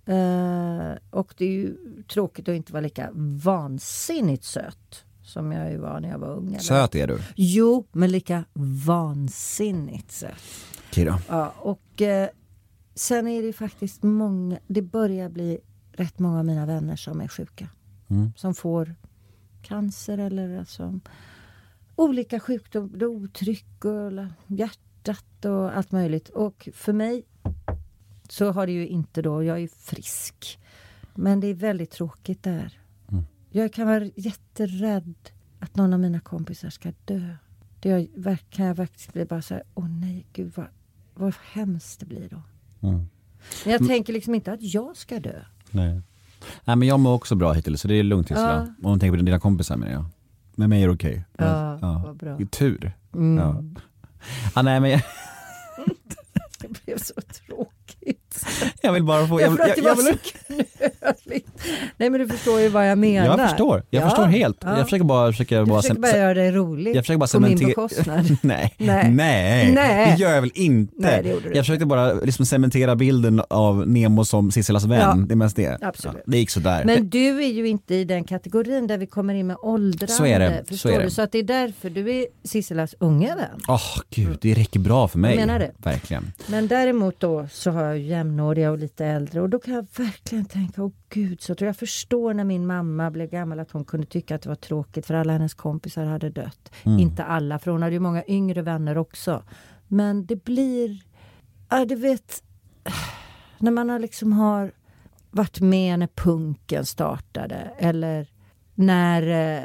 [SPEAKER 5] Eh, och det är ju tråkigt att inte vara lika vansinnigt söt som jag ju var när jag var ung. eller?
[SPEAKER 4] Söt är du.
[SPEAKER 5] Jo, men lika vansinnigt söt.
[SPEAKER 4] Okej då.
[SPEAKER 5] Ja, och eh, sen är det ju faktiskt många, det börjar bli rätt många av mina vänner som är sjuka. Som får cancer eller alltså, olika sjukdomar, otryck och eller hjärtat och allt möjligt. Och för mig så har det ju inte då, jag är ju frisk. Men det är väldigt tråkigt där. Jag kan vara jätterädd att någon av mina kompisar ska dö. Det jag, verk- kan jag faktiskt bli bara så här, åh nej, gud vad, vad hemskt det blir då.
[SPEAKER 4] Mm.
[SPEAKER 5] Men jag tänker liksom inte att jag ska dö.
[SPEAKER 4] Nej. Nej men jag mår också bra hittills så det är lugnt Sissela. Om du tänker på dina kompisar menar jag. Med mig är det okej.
[SPEAKER 5] Ja, vad bra. Mm.
[SPEAKER 4] Det är Tur. Ja. Ah, nej, men jag,
[SPEAKER 5] Det blev så tråkigt.
[SPEAKER 4] jag vill bara få...
[SPEAKER 5] Jag,
[SPEAKER 4] Jag,
[SPEAKER 5] för att
[SPEAKER 4] jag,
[SPEAKER 5] det
[SPEAKER 4] jag,
[SPEAKER 5] var
[SPEAKER 4] vill,
[SPEAKER 5] så knöligt. Nej men du förstår ju vad jag menar.
[SPEAKER 4] jag förstår. Jag
[SPEAKER 5] Ja,
[SPEAKER 4] förstår helt.
[SPEAKER 5] ja.
[SPEAKER 4] Jag försöker bara... Försöker
[SPEAKER 5] du
[SPEAKER 4] bara
[SPEAKER 5] försöker
[SPEAKER 4] sem-
[SPEAKER 5] bara göra det roligt
[SPEAKER 4] Jag försöker bara
[SPEAKER 5] på min
[SPEAKER 4] cementera-
[SPEAKER 5] bekostnad.
[SPEAKER 4] Nej.
[SPEAKER 5] Nej.
[SPEAKER 4] Nej.
[SPEAKER 5] Nej.
[SPEAKER 4] det gör jag väl inte.
[SPEAKER 5] Nej, det gjorde du
[SPEAKER 4] jag försökte bara liksom cementera bilden av Nemo som Sisselas vän,
[SPEAKER 5] Ja.
[SPEAKER 4] det är mest det.
[SPEAKER 5] Absolut.
[SPEAKER 4] Ja, det gick sådär.
[SPEAKER 5] Men du är ju inte i den kategorin där vi kommer in med åldrande.
[SPEAKER 4] Så är det, så
[SPEAKER 5] Förstår
[SPEAKER 4] är det.
[SPEAKER 5] du? Så att det är därför du är Sisselas unga vän.
[SPEAKER 4] Åh gud, det räcker bra för mig.
[SPEAKER 5] Jag menar det.
[SPEAKER 4] Verkligen.
[SPEAKER 5] Men däremot då så har jag ju jämnåriga och lite äldre och då kan jag verkligen tänka, åh gud, så tror jag förstår när min mamma blev gammal att hon kunde tycka att det var tråkigt för alla hennes kompisar hade dött.
[SPEAKER 4] Mm.
[SPEAKER 5] Inte alla, för hon hade ju många yngre vänner också. Men det blir, ja du vet, när man har liksom har varit med när punken startade eller när eh,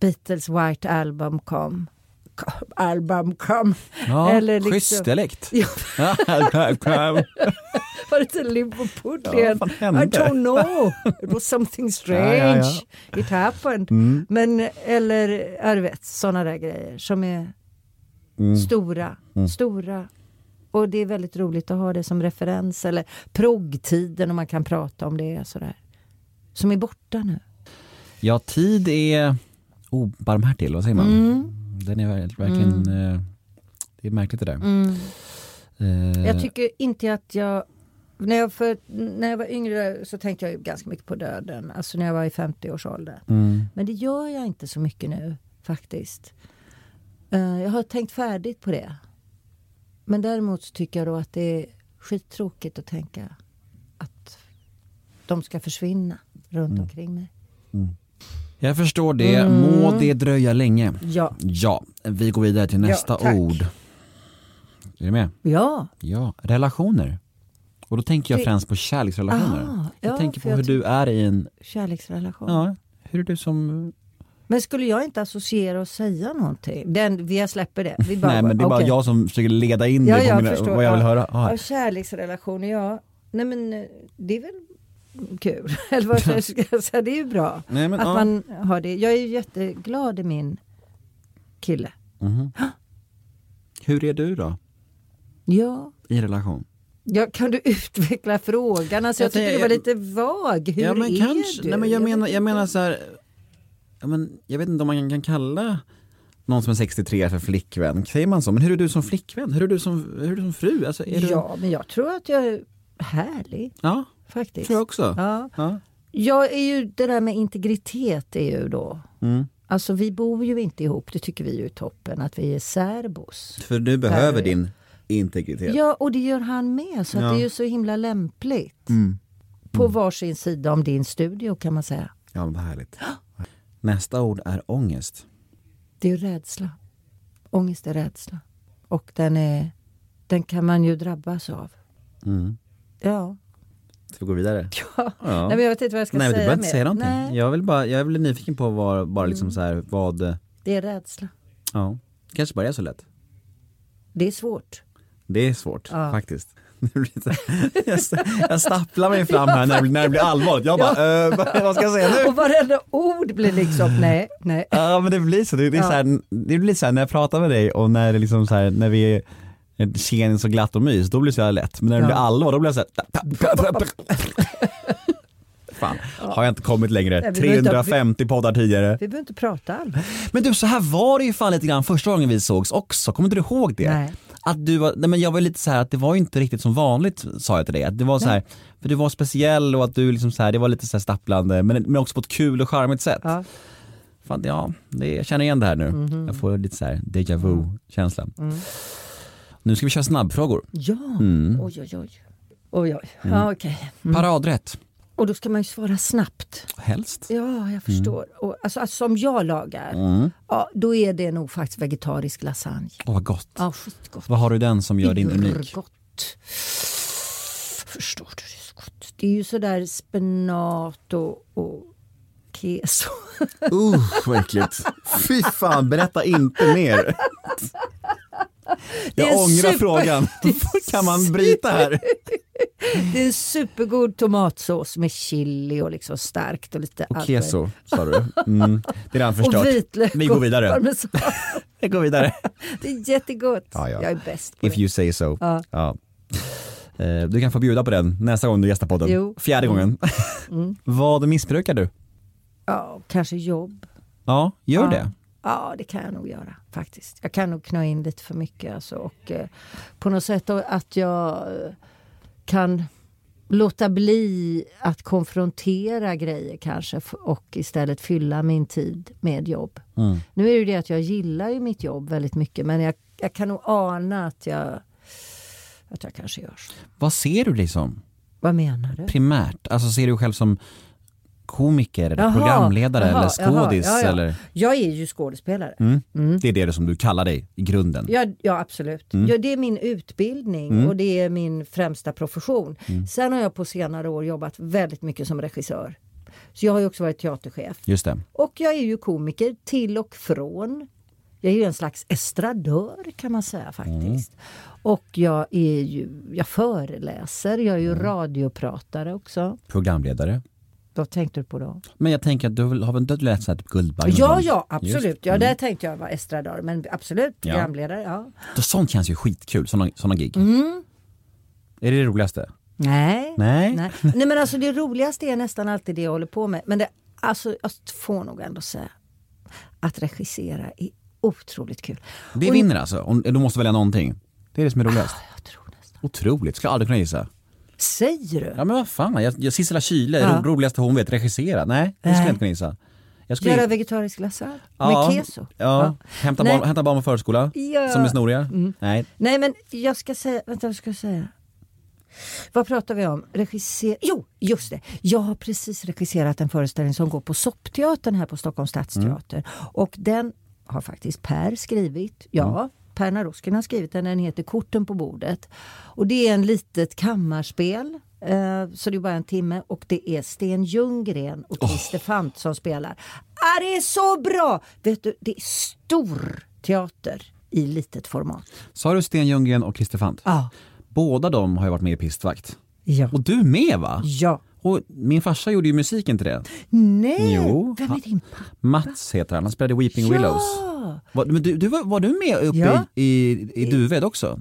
[SPEAKER 5] Beatles White Album kom. Kom- Album kom.
[SPEAKER 4] Ja,
[SPEAKER 5] Eller liksom-
[SPEAKER 4] Schysst dialekt.
[SPEAKER 5] Ja, var det till
[SPEAKER 4] Ja,
[SPEAKER 5] Liverpool?
[SPEAKER 4] vad fan
[SPEAKER 5] I
[SPEAKER 4] hände?
[SPEAKER 5] don't know. It was something strange.
[SPEAKER 4] Ja, Mm. ja,
[SPEAKER 5] It happened. Men, eller, ja, du vet, sådana där grejer som är
[SPEAKER 4] Mm.
[SPEAKER 5] stora, stora. Och det är väldigt roligt att ha det som referens. Eller proggtiden, om man kan prata om det. Sådär. Som är borta nu.
[SPEAKER 4] ja, tid är obarmhärtig, eller vad säger man?
[SPEAKER 5] Mm.
[SPEAKER 4] Den är ver- verkligen...
[SPEAKER 5] Mm.
[SPEAKER 4] eh, Det är märkligt det där. Eh,
[SPEAKER 5] Jag tycker inte att jag När jag, för, när jag var yngre så tänkte jag ju ganska mycket på döden, alltså när jag var i 50-årsåldern.
[SPEAKER 4] Mm.
[SPEAKER 5] Men det gör jag inte så mycket nu faktiskt. Eh, jag har tänkt färdigt på det. Men däremot så tycker jag då att det är skittråkigt att tänka att de ska försvinna runt
[SPEAKER 4] Mm.
[SPEAKER 5] omkring mig.
[SPEAKER 4] Jag förstår det,
[SPEAKER 5] Mm.
[SPEAKER 4] må det dröja länge.
[SPEAKER 5] Ja,
[SPEAKER 4] Ja, vi går vidare till nästa
[SPEAKER 5] tack.
[SPEAKER 4] ord. Är du med?
[SPEAKER 5] ja.
[SPEAKER 4] Ja, relationer. Och då tänker jag främst på kärleksrelationer.
[SPEAKER 5] Ah,
[SPEAKER 4] jag
[SPEAKER 5] ja,
[SPEAKER 4] tänker på
[SPEAKER 5] för
[SPEAKER 4] hur
[SPEAKER 5] jag
[SPEAKER 4] du är i en,
[SPEAKER 5] kärleksrelation.
[SPEAKER 4] ja, hur är du som,
[SPEAKER 5] Men skulle jag inte associera och säga någonting? Den, jag släpper det. Vi bara,
[SPEAKER 4] nej men det är bara
[SPEAKER 5] okej.
[SPEAKER 4] jag som försöker leda in dig på
[SPEAKER 5] jag
[SPEAKER 4] mina,
[SPEAKER 5] förstår.
[SPEAKER 4] vad jag vill
[SPEAKER 5] Ja.
[SPEAKER 4] höra. Ah,
[SPEAKER 5] Ja, kärleksrelationer, ja. Nej men eh, det är väl kul. Eller vad jag ska jag säga, det är ju bra.
[SPEAKER 4] Nej, men,
[SPEAKER 5] att
[SPEAKER 4] ja.
[SPEAKER 5] man har det. Jag är ju jätteglad i min kille.
[SPEAKER 4] Hur är du då,
[SPEAKER 5] Ja.
[SPEAKER 4] i relation?
[SPEAKER 5] Ja, kan du utveckla frågan? Alltså, jag,
[SPEAKER 4] Jag
[SPEAKER 5] tycker
[SPEAKER 4] tänker-
[SPEAKER 5] det var lite vag. Hur
[SPEAKER 4] ja, men
[SPEAKER 5] är
[SPEAKER 4] kanske,
[SPEAKER 5] du?
[SPEAKER 4] Nej, men jag,
[SPEAKER 5] vet
[SPEAKER 4] menar, jag
[SPEAKER 5] inte.
[SPEAKER 4] menar så här, ja, men jag vet inte om man kan- kan kalla någon som är 63 för flickvän, säger man så? Men hur är du som flickvän? Hur är du som, hur är du som fru? Alltså, är du,
[SPEAKER 5] Ja, men jag tror att jag är härlig
[SPEAKER 4] ja,
[SPEAKER 5] faktiskt.
[SPEAKER 4] tror jag också.
[SPEAKER 5] Ja.
[SPEAKER 4] Ja.
[SPEAKER 5] Jag är ju, det där med integritet är ju då.
[SPEAKER 4] Mm.
[SPEAKER 5] Alltså vi bor ju inte ihop, det tycker vi är ju är toppen, att vi är särbos.
[SPEAKER 4] För du behöver din integritet.
[SPEAKER 5] Ja, och det gör han med, så
[SPEAKER 4] Ja. Mm.
[SPEAKER 5] att det är ju så himla lämpligt. På varsin sida om din studio kan man säga.
[SPEAKER 4] Ja, vad härligt. Nästa ord är ångest.
[SPEAKER 5] Det är ju rädsla. Ångest är rädsla. Och den, är, den kan man ju drabbas av. Ja.
[SPEAKER 4] Ska vi gå vidare?
[SPEAKER 5] ja.
[SPEAKER 4] Mm. Ja.
[SPEAKER 5] Nej, men jag vet inte vad jag ska
[SPEAKER 4] Nej, men du
[SPEAKER 5] säga
[SPEAKER 4] behöver inte
[SPEAKER 5] mer.
[SPEAKER 4] säga någonting.
[SPEAKER 5] Nej, Mm.
[SPEAKER 4] Jag vill bara, jag blir nyfiken på vad, bara liksom så här, vad,
[SPEAKER 5] det är rädsla.
[SPEAKER 4] ja, kanske bara är så lätt.
[SPEAKER 5] Det är svårt.
[SPEAKER 4] Det är svårt faktiskt. Nu blir det så här- jag sta- Jag stapplar mig fram här när det blir, när det blir allvarligt. Jag bara, eh, vad- vad ska jag säga nu?
[SPEAKER 5] Och varenda ord blir liksom, nej, nej.
[SPEAKER 4] Ja men det blir så, det, det är
[SPEAKER 5] Ja.
[SPEAKER 4] så här, det blir så här när jag pratar med dig och när det liksom så här, när vi är tjenis och glatt och mys, då blir det så här lätt. Men när det
[SPEAKER 5] Ja.
[SPEAKER 4] blir allvar, då blir jag så här. Fan, har jag inte kommit längre?
[SPEAKER 5] Nej, vi behöver inte-
[SPEAKER 4] 350 poddar tidigare.
[SPEAKER 5] Vi behöver inte prata alls.
[SPEAKER 4] Men du, så här var det ju fan lite grann första gången vi sågs också, kommer inte du ihåg det?
[SPEAKER 5] Nej.
[SPEAKER 4] Att du var, nej men jag var lite så här att det var ju inte riktigt som vanligt sa jag till dig, att det var så här, för du var speciell och att du liksom så här, det var lite så här stapplande men, men också på ett kul och charmigt sätt.
[SPEAKER 5] Ja.
[SPEAKER 4] Fan, ja, det, jag känner igen det här nu.
[SPEAKER 5] Mhm.
[SPEAKER 4] Jag får lite så här déjà
[SPEAKER 5] Mm.
[SPEAKER 4] vu känsla. Nu ska vi köra snabbfrågor.
[SPEAKER 5] Ja,
[SPEAKER 4] Mm.
[SPEAKER 5] oj oj oj. Oj oj, ja, okej.
[SPEAKER 4] Paradrätt,
[SPEAKER 5] Och då ska man ju svara snabbt.
[SPEAKER 4] helst.
[SPEAKER 5] Ja, jag förstår.
[SPEAKER 4] Mm.
[SPEAKER 5] Och, alltså, alltså som jag lagar, ja, då är det nog faktiskt vegetarisk lasagne.
[SPEAKER 4] Åh vad gott.
[SPEAKER 5] Ja, skitgott.
[SPEAKER 4] Vad har du den som gör din unik?
[SPEAKER 5] Gott. Förstår du, det är så gott. Det är ju sådär spenat och, och keso.
[SPEAKER 4] Usch vad äckligt. Fy fan, berätta inte mer.
[SPEAKER 5] Det är
[SPEAKER 4] Jag ångrar
[SPEAKER 5] super-
[SPEAKER 4] frågan. Kan man bryta här?
[SPEAKER 5] Det är en supergod tomatsås med chili och liksom starkt och lite
[SPEAKER 4] Och
[SPEAKER 5] allt
[SPEAKER 4] keso sa du. Mm, det är redan
[SPEAKER 5] möjligt.
[SPEAKER 4] förstört.
[SPEAKER 5] Och vitlök.
[SPEAKER 4] Vi går
[SPEAKER 5] och
[SPEAKER 4] vidare.
[SPEAKER 5] parmesan.
[SPEAKER 4] Vi går vidare.
[SPEAKER 5] Det är jättegott.
[SPEAKER 4] Ja, ja.
[SPEAKER 5] Jag är bäst på
[SPEAKER 4] If
[SPEAKER 5] det.
[SPEAKER 4] you say so.
[SPEAKER 5] Ja.
[SPEAKER 4] Ja. Eh, Du kan få bjuda på den nästa gång du gästar podden.
[SPEAKER 5] Jo. Mm.
[SPEAKER 4] Fjärde gången. Vad missbrukar du?
[SPEAKER 5] Ja, kanske jobb.
[SPEAKER 4] Ja, gör
[SPEAKER 5] Ja.
[SPEAKER 4] det.
[SPEAKER 5] Ja, det kan jag nog göra faktiskt. Jag kan nog knö in lite för mycket. Alltså, och eh, på något sätt då att jag eh, kan låta bli att konfrontera grejer kanske f- och istället fylla min tid med jobb.
[SPEAKER 4] Mm.
[SPEAKER 5] Nu är det ju det att jag gillar ju mitt jobb väldigt mycket men jag, jag kan nog ana att jag, att jag kanske gör så.
[SPEAKER 4] Vad ser du dig som
[SPEAKER 5] Vad menar du?
[SPEAKER 4] primärt? Alltså ser du dig själv som komiker, eller
[SPEAKER 5] Jaha,
[SPEAKER 4] programledare
[SPEAKER 5] jaha,
[SPEAKER 4] eller skådis?
[SPEAKER 5] jaha, ja, ja.
[SPEAKER 4] Eller, Mm.
[SPEAKER 5] Jag är ju skådespelare.
[SPEAKER 4] det är det som du kallar dig i grunden.
[SPEAKER 5] Ja, ja absolut.
[SPEAKER 4] Mm.
[SPEAKER 5] Ja, det är min utbildning och det är min främsta profession.
[SPEAKER 4] Mm.
[SPEAKER 5] Sen har jag på senare år jobbat väldigt mycket som regissör. Så jag har ju också varit teaterchef.
[SPEAKER 4] Just det.
[SPEAKER 5] Och jag är ju komiker till och från. Jag är ju en slags estradör kan man säga faktiskt.
[SPEAKER 4] Mm.
[SPEAKER 5] Och jag är ju, jag föreläser, jag är
[SPEAKER 4] Mm.
[SPEAKER 5] ju radiopratare också.
[SPEAKER 4] Programledare.
[SPEAKER 5] Vad tänkte du på då?
[SPEAKER 4] Men jag tänker att du väl- har väl inte läst så här typ Guldbaggen?
[SPEAKER 5] Ja, ja, absolut.
[SPEAKER 4] Just. Mm.
[SPEAKER 5] Ja, där tänkte jag vara estradör. Men absolut,
[SPEAKER 4] Ja.
[SPEAKER 5] programledare, ja.
[SPEAKER 4] Så Sånt känns ju skitkul, såna, såna gig.
[SPEAKER 5] Mm.
[SPEAKER 4] Är det det roligaste?
[SPEAKER 5] Nej.
[SPEAKER 4] Nej.
[SPEAKER 5] Nej. Nej men alltså det roligaste är nästan alltid det jag håller på med. Men det, alltså, jag får nog ändå säga att regissera är otroligt kul.
[SPEAKER 4] Det vinner alltså? Om, du måste välja någonting? Det är det som är roligast?
[SPEAKER 5] Jag tror nästan.
[SPEAKER 4] Otroligt, skulle jag aldrig kunna gissa.
[SPEAKER 5] Säger du?
[SPEAKER 4] Ja men vad fan, jag, jag, Sissela Kyle,
[SPEAKER 5] Ja.
[SPEAKER 4] ro- roligaste hon vet, regissera. Nej, det skulle
[SPEAKER 5] Nej.
[SPEAKER 4] jag inte kunna gissa. Jag skulle...
[SPEAKER 5] Göra vegetarisk lasagne
[SPEAKER 4] Ja,
[SPEAKER 5] med keso?
[SPEAKER 4] Ja, hämta
[SPEAKER 5] Nej.
[SPEAKER 4] barn, hämta barn på förskola
[SPEAKER 5] Ja. Mm.
[SPEAKER 4] som är snoriga. Nej,
[SPEAKER 5] Nej men jag ska säga, vänta vad ska jag säga? Vad pratar vi om? Regisser... Jo, just det! Jag har precis regisserat en föreställning som går på Soppteatern här på Stockholms stadsteater. Och den har faktiskt Per skrivit. Ja, Per Naroskin har skrivit den. Den heter Korten på bordet. Och det är en litet kammarspel. eh, Så det är bara en timme och det är Sten Ljunggren och Christer Fant som spelar. Ah, det är så bra! Vet du, det är stor teater i litet format.
[SPEAKER 4] sa du Sten Ljunggren och Christer Fant?
[SPEAKER 5] Ja.
[SPEAKER 4] Båda de har ju varit med i Pistvakt.
[SPEAKER 5] Ja.
[SPEAKER 4] Och du med va?
[SPEAKER 5] Ja.
[SPEAKER 4] Och min farsa gjorde ju musiken till det.
[SPEAKER 5] Nej!
[SPEAKER 4] Jo.
[SPEAKER 5] Vem är din pappa?
[SPEAKER 4] Mats heter han, han spelade i Weeping Willows.
[SPEAKER 5] Ja.
[SPEAKER 4] Var, men du, du, var, var du med uppe
[SPEAKER 5] Ja.
[SPEAKER 4] i, i, i Duved också?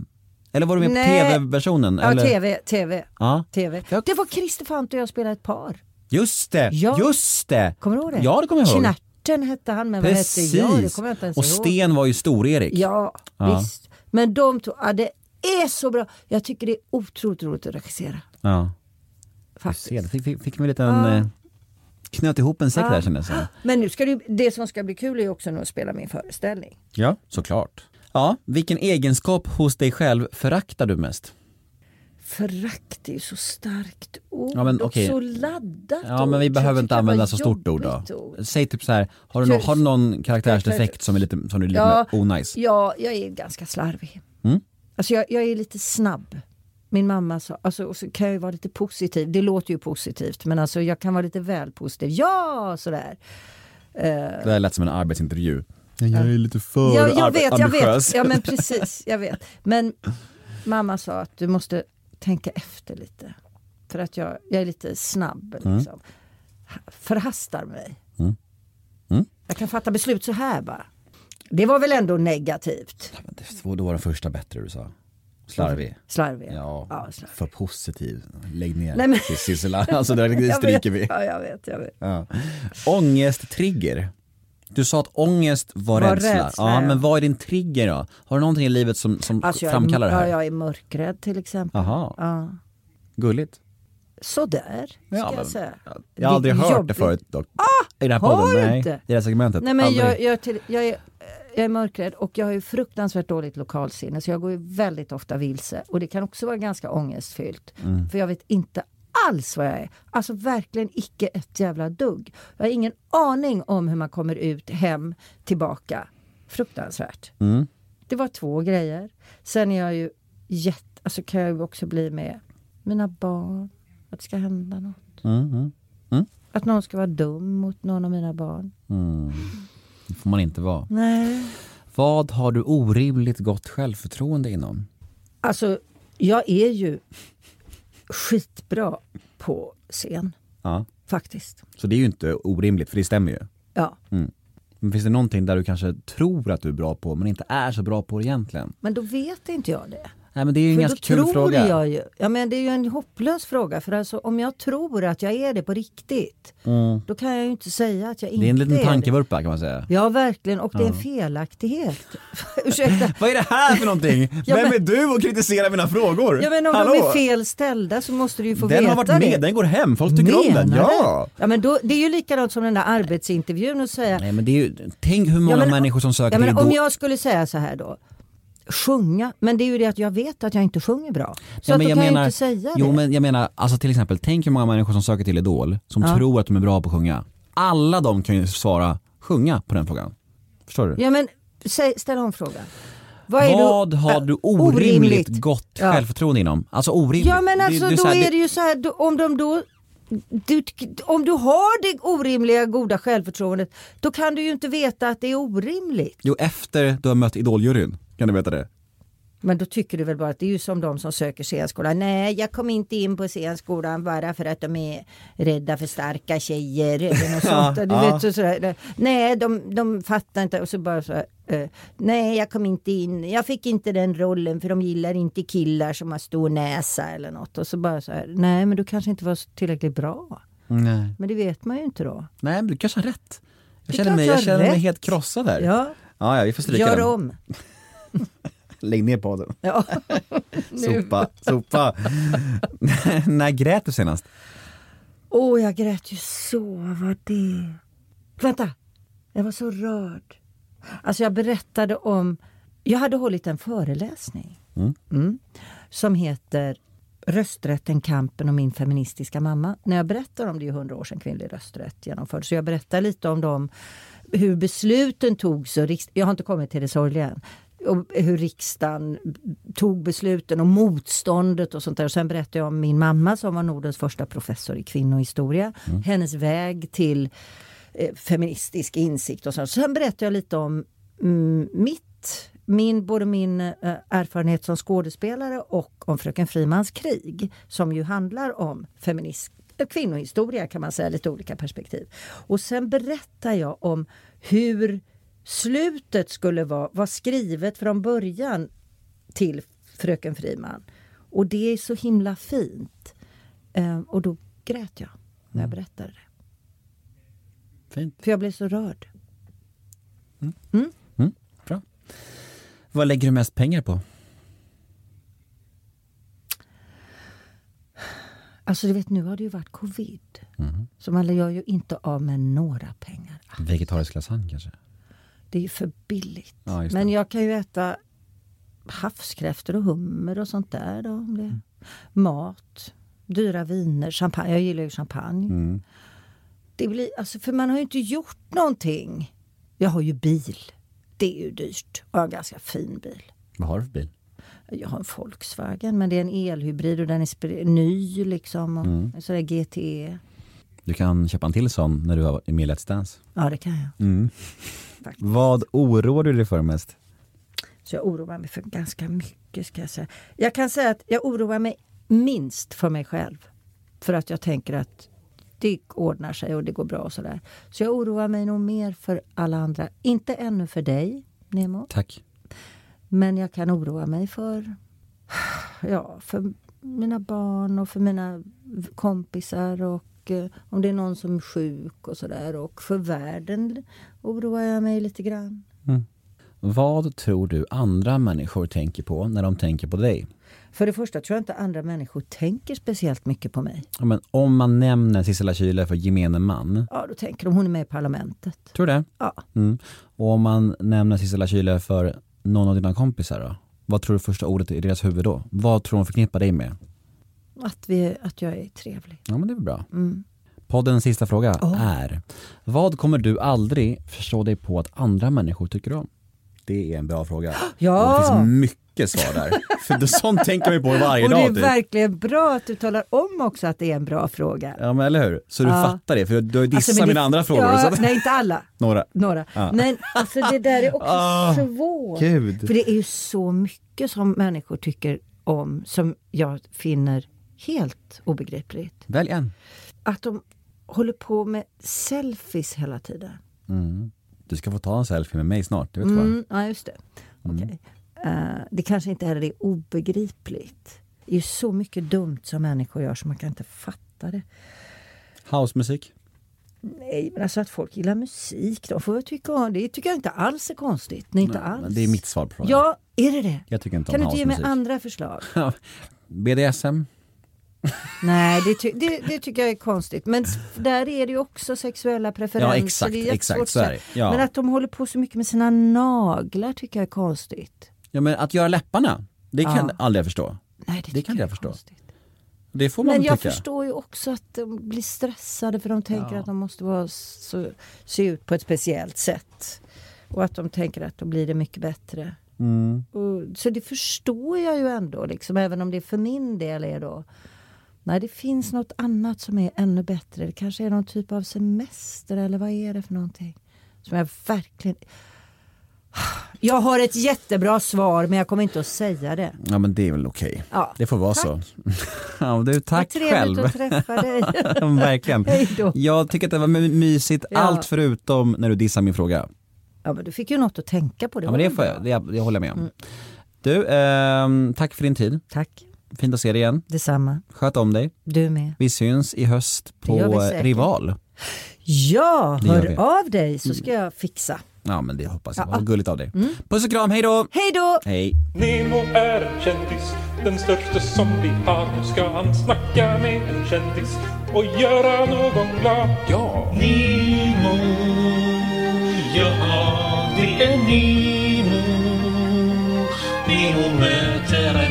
[SPEAKER 4] Eller var du med på
[SPEAKER 5] Nej.
[SPEAKER 4] tv-versionen?
[SPEAKER 5] Ja,
[SPEAKER 4] eller?
[SPEAKER 5] tv, tv.
[SPEAKER 4] Ja.
[SPEAKER 5] TV.
[SPEAKER 4] Jag-
[SPEAKER 5] Det var Christer Fant och jag spelade ett par.
[SPEAKER 4] Just det,
[SPEAKER 5] Ja.
[SPEAKER 4] just det!
[SPEAKER 5] Kommer du ihåg det?
[SPEAKER 4] Ja, det kommer jag ihåg.
[SPEAKER 5] Knarten hette han, men
[SPEAKER 4] Precis!
[SPEAKER 5] vad hette jag? Det kommer jag inte ens
[SPEAKER 4] och
[SPEAKER 5] ihåg.
[SPEAKER 4] Sten var ju stor-Erik.
[SPEAKER 5] Ja,
[SPEAKER 4] Ja.
[SPEAKER 5] visst. Men de två, ja, det är så bra. Jag tycker det är otroligt roligt att regissera.
[SPEAKER 4] Ja. Se,
[SPEAKER 5] Faktiskt.
[SPEAKER 4] det fick, fick, fick mig en liten... Eh, knöt ihop en säck där kändes det som.
[SPEAKER 5] Men nu ska det, ju- det som ska bli kul är ju också nu att spela min föreställning.
[SPEAKER 4] Ja, såklart. Ja, vilken egenskap hos dig själv föraktar du mest?
[SPEAKER 5] Förakt är ju så starkt ord
[SPEAKER 4] Ja, men okej.
[SPEAKER 5] och så laddat
[SPEAKER 4] Ja, men
[SPEAKER 5] ord.
[SPEAKER 4] vi
[SPEAKER 5] Jag tycker
[SPEAKER 4] behöver inte
[SPEAKER 5] det var
[SPEAKER 4] använda så stort ord då.
[SPEAKER 5] jobbigt ord.
[SPEAKER 4] Säg typ så här, har du, nå- har du någon karaktärsdefekt som är lite, som du är lite
[SPEAKER 5] Ja.
[SPEAKER 4] onajs?
[SPEAKER 5] Ja, jag är ganska slarvig.
[SPEAKER 4] Mm.
[SPEAKER 5] Alltså jag, jag är lite snabb. Min mamma sa, alltså, och så kan jag ju vara lite positiv. Det låter ju positivt, men alltså jag kan vara lite väl positiv. Ja, sådär.
[SPEAKER 4] Det där lät som en arbetsintervju. Jag är lite för
[SPEAKER 5] Jag, jag vet, jag
[SPEAKER 4] ambitiös.
[SPEAKER 5] vet. Ja, men precis. Jag vet. Men mamma sa att du måste tänka efter lite. För att jag, jag är lite snabb.
[SPEAKER 4] Mm.
[SPEAKER 5] Liksom. Ha- Förhastar mig.
[SPEAKER 4] Mm.
[SPEAKER 5] Jag kan fatta beslut så här bara. Det var väl ändå negativt?
[SPEAKER 4] Det var den första bättre du sa. Slarvig.
[SPEAKER 5] Slarvig.
[SPEAKER 4] Ja,
[SPEAKER 5] ja slarvig.
[SPEAKER 4] för positiv. Lägg ner
[SPEAKER 5] Nej, men-
[SPEAKER 4] Sissela, alltså det där
[SPEAKER 5] Jag
[SPEAKER 4] stryker
[SPEAKER 5] vet.
[SPEAKER 4] vi.
[SPEAKER 5] Ja, jag vet, jag vet.
[SPEAKER 4] Ja. Ångesttrigger. Du sa att ångest var,
[SPEAKER 5] Var
[SPEAKER 4] rädsla.
[SPEAKER 5] rädsla,
[SPEAKER 4] ja,
[SPEAKER 5] ja.
[SPEAKER 4] Men vad är din trigger då? Har du någonting i livet som, som
[SPEAKER 5] Alltså, jag,
[SPEAKER 4] framkallar det här?
[SPEAKER 5] Ja, jag är mörkrädd till exempel.
[SPEAKER 4] Aha.
[SPEAKER 5] Ja.
[SPEAKER 4] Gulligt.
[SPEAKER 5] Sådär, ska
[SPEAKER 4] Ja, men-
[SPEAKER 5] jag säga.
[SPEAKER 4] Jag har aldrig
[SPEAKER 5] Det är
[SPEAKER 4] hört det
[SPEAKER 5] jobbigt. Ah!
[SPEAKER 4] förut dock. I den här podden?
[SPEAKER 5] har du
[SPEAKER 4] Nej,
[SPEAKER 5] inte?
[SPEAKER 4] i det här segmentet.
[SPEAKER 5] Nej, men
[SPEAKER 4] Aldrig.
[SPEAKER 5] jag, jag, till, jag, är, eh, jag är mörkrädd och jag har ju fruktansvärt dåligt lokalsinne så jag går ju väldigt ofta vilse. Och det kan också vara ganska ångestfyllt. För jag vet inte alls vad jag är. Alltså verkligen icke ett jävla dugg. Jag har ingen aning om hur man kommer ut, hem, tillbaka. Fruktansvärt. Det var två grejer. Sen är jag ju jätte... Alltså kan jag ju också bli med mina barn. Att det ska hända något. Att någon ska vara dum mot någon av mina barn.
[SPEAKER 4] Det får man inte vara.
[SPEAKER 5] Nej.
[SPEAKER 4] Vad har du orimligt gott självförtroende inom?
[SPEAKER 5] Alltså, jag är ju skitbra på scen.
[SPEAKER 4] Ja.
[SPEAKER 5] Faktiskt.
[SPEAKER 4] Så det är ju inte orimligt, för det stämmer ju.
[SPEAKER 5] Ja.
[SPEAKER 4] Mm. Men finns det någonting där du kanske tror att du är bra på, men inte är så bra på egentligen?
[SPEAKER 5] Men då vet inte jag det.
[SPEAKER 4] Nej men det är ju en
[SPEAKER 5] För
[SPEAKER 4] ganska
[SPEAKER 5] då tror
[SPEAKER 4] kul fråga.
[SPEAKER 5] jag ju. Ja, men det är ju en hopplös fråga. För alltså, om jag tror att jag är det på riktigt, då kan jag ju inte säga att jag inte
[SPEAKER 4] Mm. Det är en liten
[SPEAKER 5] det.
[SPEAKER 4] tankevurpa kan man säga.
[SPEAKER 5] Ja, verkligen. Och det är en felaktighet. Ursäkta.
[SPEAKER 4] Vad är det här för någonting?
[SPEAKER 5] Ja,
[SPEAKER 4] Vem
[SPEAKER 5] men-
[SPEAKER 4] är du och kritiserar mina frågor?
[SPEAKER 5] Ja, men om
[SPEAKER 4] Hallå?
[SPEAKER 5] de är fel ställda så måste du ju få
[SPEAKER 4] den
[SPEAKER 5] veta
[SPEAKER 4] har varit med,
[SPEAKER 5] det.
[SPEAKER 4] den går hem, folk tycker om den.
[SPEAKER 5] Menar
[SPEAKER 4] Ja.
[SPEAKER 5] du? ja men då, det är ju likadant som den där arbetsintervjun och säga
[SPEAKER 4] Nej men det är ju, tänk hur många
[SPEAKER 5] Ja, men-
[SPEAKER 4] människor som söker
[SPEAKER 5] ja, men
[SPEAKER 4] till
[SPEAKER 5] Om
[SPEAKER 4] Idol.
[SPEAKER 5] jag skulle säga så här då. Sjunga, men det är ju det att jag vet att jag inte sjunger bra. Så
[SPEAKER 4] Ja,
[SPEAKER 5] att
[SPEAKER 4] men
[SPEAKER 5] då
[SPEAKER 4] jag
[SPEAKER 5] kan
[SPEAKER 4] menar,
[SPEAKER 5] jag ju inte säga
[SPEAKER 4] jo,
[SPEAKER 5] det.
[SPEAKER 4] men jag menar, alltså till exempel, tänk hur många människor som söker till Idol som tror att de är bra på att sjunga. Alla de kan ju svara sjunga på den frågan. Förstår du?
[SPEAKER 5] Ja, men säg, ställ om frågan. Vad, är
[SPEAKER 4] Vad har
[SPEAKER 5] äh,
[SPEAKER 4] du orimligt, gott
[SPEAKER 5] Ja.
[SPEAKER 4] självförtroende inom? Alltså orimligt.
[SPEAKER 5] Ja men alltså
[SPEAKER 4] så
[SPEAKER 5] då
[SPEAKER 4] här,
[SPEAKER 5] är det ju så här, då, om de då du, om du har det orimliga goda självförtroendet då kan du ju inte veta att det är orimligt.
[SPEAKER 4] Jo, efter du har mött Idoljuryn kan du veta det.
[SPEAKER 5] Men då tycker du väl bara att det är ju som de som söker scenskolan. Nej, jag kom inte in på scenskolan bara för att de är rädda för starka tjejer eller något sånt. Du vet, så, sådär. Nej, de, de fattar inte. Och så bara så här, eh, Nej, jag kom inte in. Jag fick inte den rollen för de gillar inte killar som har stor näsa eller något. Och så bara så här. Nej, men du kanske inte var så tillräckligt bra.
[SPEAKER 4] Nej.
[SPEAKER 5] Men det vet man ju inte då.
[SPEAKER 4] Nej, men du kanske har rätt. Jag
[SPEAKER 5] Det är
[SPEAKER 4] känner
[SPEAKER 5] klart
[SPEAKER 4] mig,
[SPEAKER 5] jag
[SPEAKER 4] jag
[SPEAKER 5] har
[SPEAKER 4] känner mig
[SPEAKER 5] rätt.
[SPEAKER 4] helt krossad här.
[SPEAKER 5] Ja,
[SPEAKER 4] ja, ja, vi får stryka
[SPEAKER 5] gör
[SPEAKER 4] den.
[SPEAKER 5] om.
[SPEAKER 4] Lägg ner podden.
[SPEAKER 5] Ja. nu.
[SPEAKER 4] Sopa, sopa. När grät du senast?
[SPEAKER 5] Åh, jag grät ju så. Vad det... Vänta! Jag var så rörd. Alltså jag berättade om... Jag hade hållit en föreläsning. Mm. Som heter Rösträtten, kampen och min feministiska mamma. När jag berättar om det är ju hundra år sedan kvinnlig rösträtt genomfördes. Så jag berättar lite om dem, hur besluten togs. Och riks- jag har inte kommit till det sorgliga än. Och hur riksdagen tog besluten och motståndet och sånt där. Och sen berättade jag om min mamma som var Nordens första professor i kvinnohistoria. Hennes väg till eh, feministisk insikt och sånt. Sen berättade jag lite om mm, mitt, min, både min eh, erfarenhet som skådespelare och om Fröken Frimans krig som ju handlar om feminism eh, kvinnohistoria kan man säga, lite olika perspektiv. Och sen berättar jag om hur slutet skulle vara, var skrivet från början till Fröken Friman. Och det är så himla fint. Eh, och då grät jag när jag berättade det.
[SPEAKER 4] Fint.
[SPEAKER 5] För jag blev så rörd.
[SPEAKER 4] Bra. Vad lägger du mest pengar på?
[SPEAKER 5] Alltså du vet nu har det ju varit covid.
[SPEAKER 4] Mm.
[SPEAKER 5] Så man gör ju inte av med några pengar. Ah,
[SPEAKER 4] Vegetarisk lasagne kanske?
[SPEAKER 5] Det är ju för billigt.
[SPEAKER 4] Ja, just det.
[SPEAKER 5] Men jag kan ju äta havskräftor och hummer och sånt där. Då, om
[SPEAKER 4] Mm.
[SPEAKER 5] det. Mat, dyra viner, champagne. Jag gillar ju champagne.
[SPEAKER 4] Mm.
[SPEAKER 5] Det blir, alltså, för man har ju inte gjort någonting. Jag har ju bil. Det är ju dyrt. Och jag har en ganska fin bil.
[SPEAKER 4] Vad har du för bil?
[SPEAKER 5] Jag har en Volkswagen men det är en elhybrid och den är spr- ny liksom. Och
[SPEAKER 4] Mm.
[SPEAKER 5] Så är det E. GTE.
[SPEAKER 4] Du kan köpa en till sån när du är med i Let's Dance.
[SPEAKER 5] Ja det kan jag.
[SPEAKER 4] Vad oroar du dig för mest?
[SPEAKER 5] Så jag oroar mig för ganska mycket ska jag säga. Jag kan säga att jag oroar mig minst för mig själv. För att jag tänker att det ordnar sig och det går bra och sådär. Så jag oroar mig nog mer för alla andra. Inte ännu för dig Nemo.
[SPEAKER 4] Tack.
[SPEAKER 5] Men jag kan oroa mig för, ja, för mina barn och för mina v- kompisar och eh, om det är någon som är sjuk och sådär. Och för världen oroar jag mig lite grann.
[SPEAKER 4] Vad tror du andra människor tänker på när de tänker på dig?
[SPEAKER 5] För det första tror jag inte andra människor tänker speciellt mycket på mig.
[SPEAKER 4] Ja, men om man nämner Sissela Kyle för gemene man,
[SPEAKER 5] Ja, då tänker de hon är med i Parlamentet.
[SPEAKER 4] tror du det?
[SPEAKER 5] Ja.
[SPEAKER 4] Mm. Och om man nämner Sissela Kyle för någon av dina kompisar då? Vad tror du första ordet i deras huvud då? Vad tror de förknippar dig med?
[SPEAKER 5] Att, vi, att jag är trevlig.
[SPEAKER 4] Ja men det är väl bra.
[SPEAKER 5] Mm.
[SPEAKER 4] Poddens sista fråga är, vad kommer du aldrig förstå dig på att andra människor tycker om? Det är en bra fråga.
[SPEAKER 5] Ja.
[SPEAKER 4] Och det finns mycket svar där. För det- sånt tänker vi på varje
[SPEAKER 5] Och det
[SPEAKER 4] dag
[SPEAKER 5] är
[SPEAKER 4] typ.
[SPEAKER 5] verkligen bra att du talar om också att det är en bra fråga.
[SPEAKER 4] Ja men eller hur? Så du
[SPEAKER 5] Ja.
[SPEAKER 4] fattar det, för du har ju dissat
[SPEAKER 5] Alltså, men det-
[SPEAKER 4] mina andra frågor.
[SPEAKER 5] Ja,
[SPEAKER 4] så att,
[SPEAKER 5] Nej, inte alla.
[SPEAKER 4] några.
[SPEAKER 5] Några.
[SPEAKER 4] Ja.
[SPEAKER 5] Men alltså det där är också
[SPEAKER 4] Ah,
[SPEAKER 5] svårt.
[SPEAKER 4] Gud.
[SPEAKER 5] För det är ju så mycket som människor tycker om som jag finner helt obegripligt.
[SPEAKER 4] Välj en.
[SPEAKER 5] Att de håller på med selfies hela tiden.
[SPEAKER 4] Du ska få ta en selfie med mig snart, du vet vad.
[SPEAKER 5] Mm, ja, just det. Okej. Eh, det kanske inte heller är obegripligt. Det är ju så mycket dumt som människor gör så man kan inte fatta det.
[SPEAKER 4] Housemusik.
[SPEAKER 5] Nej, men alltså att folk gillar musik, de får väl tycka om det. tycker jag inte alls är konstigt. Nej, inte
[SPEAKER 4] Men
[SPEAKER 5] alls.
[SPEAKER 4] Det är mitt svar på frågan.
[SPEAKER 5] Ja, är det det?
[SPEAKER 4] Jag tycker inte
[SPEAKER 5] kan du
[SPEAKER 4] om
[SPEAKER 5] inte ge mig
[SPEAKER 4] housemusik.
[SPEAKER 5] andra förslag?
[SPEAKER 4] BDSM.
[SPEAKER 5] Nej, det, ty- det, det tycker jag är konstigt. Men s- där är det ju också sexuella preferenser.
[SPEAKER 4] Ja, exakt,
[SPEAKER 5] det jättesvårt
[SPEAKER 4] exakt,
[SPEAKER 5] att
[SPEAKER 4] så är
[SPEAKER 5] säga.
[SPEAKER 4] det. Ja.
[SPEAKER 5] Men att de håller på så mycket med sina naglar tycker jag är konstigt.
[SPEAKER 4] Ja men att göra läpparna, det kan
[SPEAKER 5] Ja.
[SPEAKER 4] aldrig jag förstå.
[SPEAKER 5] Nej, det,
[SPEAKER 4] Det
[SPEAKER 5] tycker
[SPEAKER 4] kan
[SPEAKER 5] jag
[SPEAKER 4] jag
[SPEAKER 5] är
[SPEAKER 4] förstå.
[SPEAKER 5] konstigt.
[SPEAKER 4] Det får man
[SPEAKER 5] Men
[SPEAKER 4] väl
[SPEAKER 5] jag
[SPEAKER 4] tycka.
[SPEAKER 5] förstår ju också att de blir stressade för de tänker att de måste vara så, se ut på ett speciellt sätt. Och att de tänker att då blir det mycket bättre.
[SPEAKER 4] Mm.
[SPEAKER 5] Och, så det förstår jag ju ändå, liksom, även om det för min del är då Nej, det finns något annat som är ännu bättre. Det kanske är någon typ av semester eller vad är det för någonting? Som jag verkligen... Jag har ett jättebra svar men jag kommer inte att säga det.
[SPEAKER 4] Ja men det är väl okej.
[SPEAKER 5] Ja,
[SPEAKER 4] Det får vara
[SPEAKER 5] tack.
[SPEAKER 4] så. ja, men du, tack
[SPEAKER 5] Vad trevligt
[SPEAKER 4] själv.
[SPEAKER 5] att träffa dig.
[SPEAKER 4] Verkligen.
[SPEAKER 5] Hej då.
[SPEAKER 4] Jag tycker att det var my- mysigt,
[SPEAKER 5] Ja.
[SPEAKER 4] allt förutom när du dissar min fråga.
[SPEAKER 5] Ja men du fick ju något att tänka på. Det
[SPEAKER 4] Ja men det,
[SPEAKER 5] var
[SPEAKER 4] får
[SPEAKER 5] bra.
[SPEAKER 4] jag, det, det håller jag med
[SPEAKER 5] Mm.
[SPEAKER 4] om. Du, ehm, tack för din tid.
[SPEAKER 5] Tack.
[SPEAKER 4] Fint att se dig igen.
[SPEAKER 5] Detsamma.
[SPEAKER 4] Sköt om dig.
[SPEAKER 5] Du med.
[SPEAKER 4] Vi syns i höst
[SPEAKER 5] gör vi
[SPEAKER 4] på
[SPEAKER 5] säkert.
[SPEAKER 4] Rival.
[SPEAKER 5] Ja,
[SPEAKER 4] Det gör
[SPEAKER 5] hör
[SPEAKER 4] vi.
[SPEAKER 5] av dig så ska jag fixa.
[SPEAKER 4] Ja men det hoppas jag. Vad gulligt av dig.
[SPEAKER 5] Mm.
[SPEAKER 4] Puss och kram, hej då!
[SPEAKER 5] Hej då!
[SPEAKER 4] Hej.
[SPEAKER 2] Nemo är en kändis, den största som vi har. Nu ska han snacka med en kändis och göra någon glad. Ja!
[SPEAKER 3] Nemo, ja det är Nemo. Nemo möter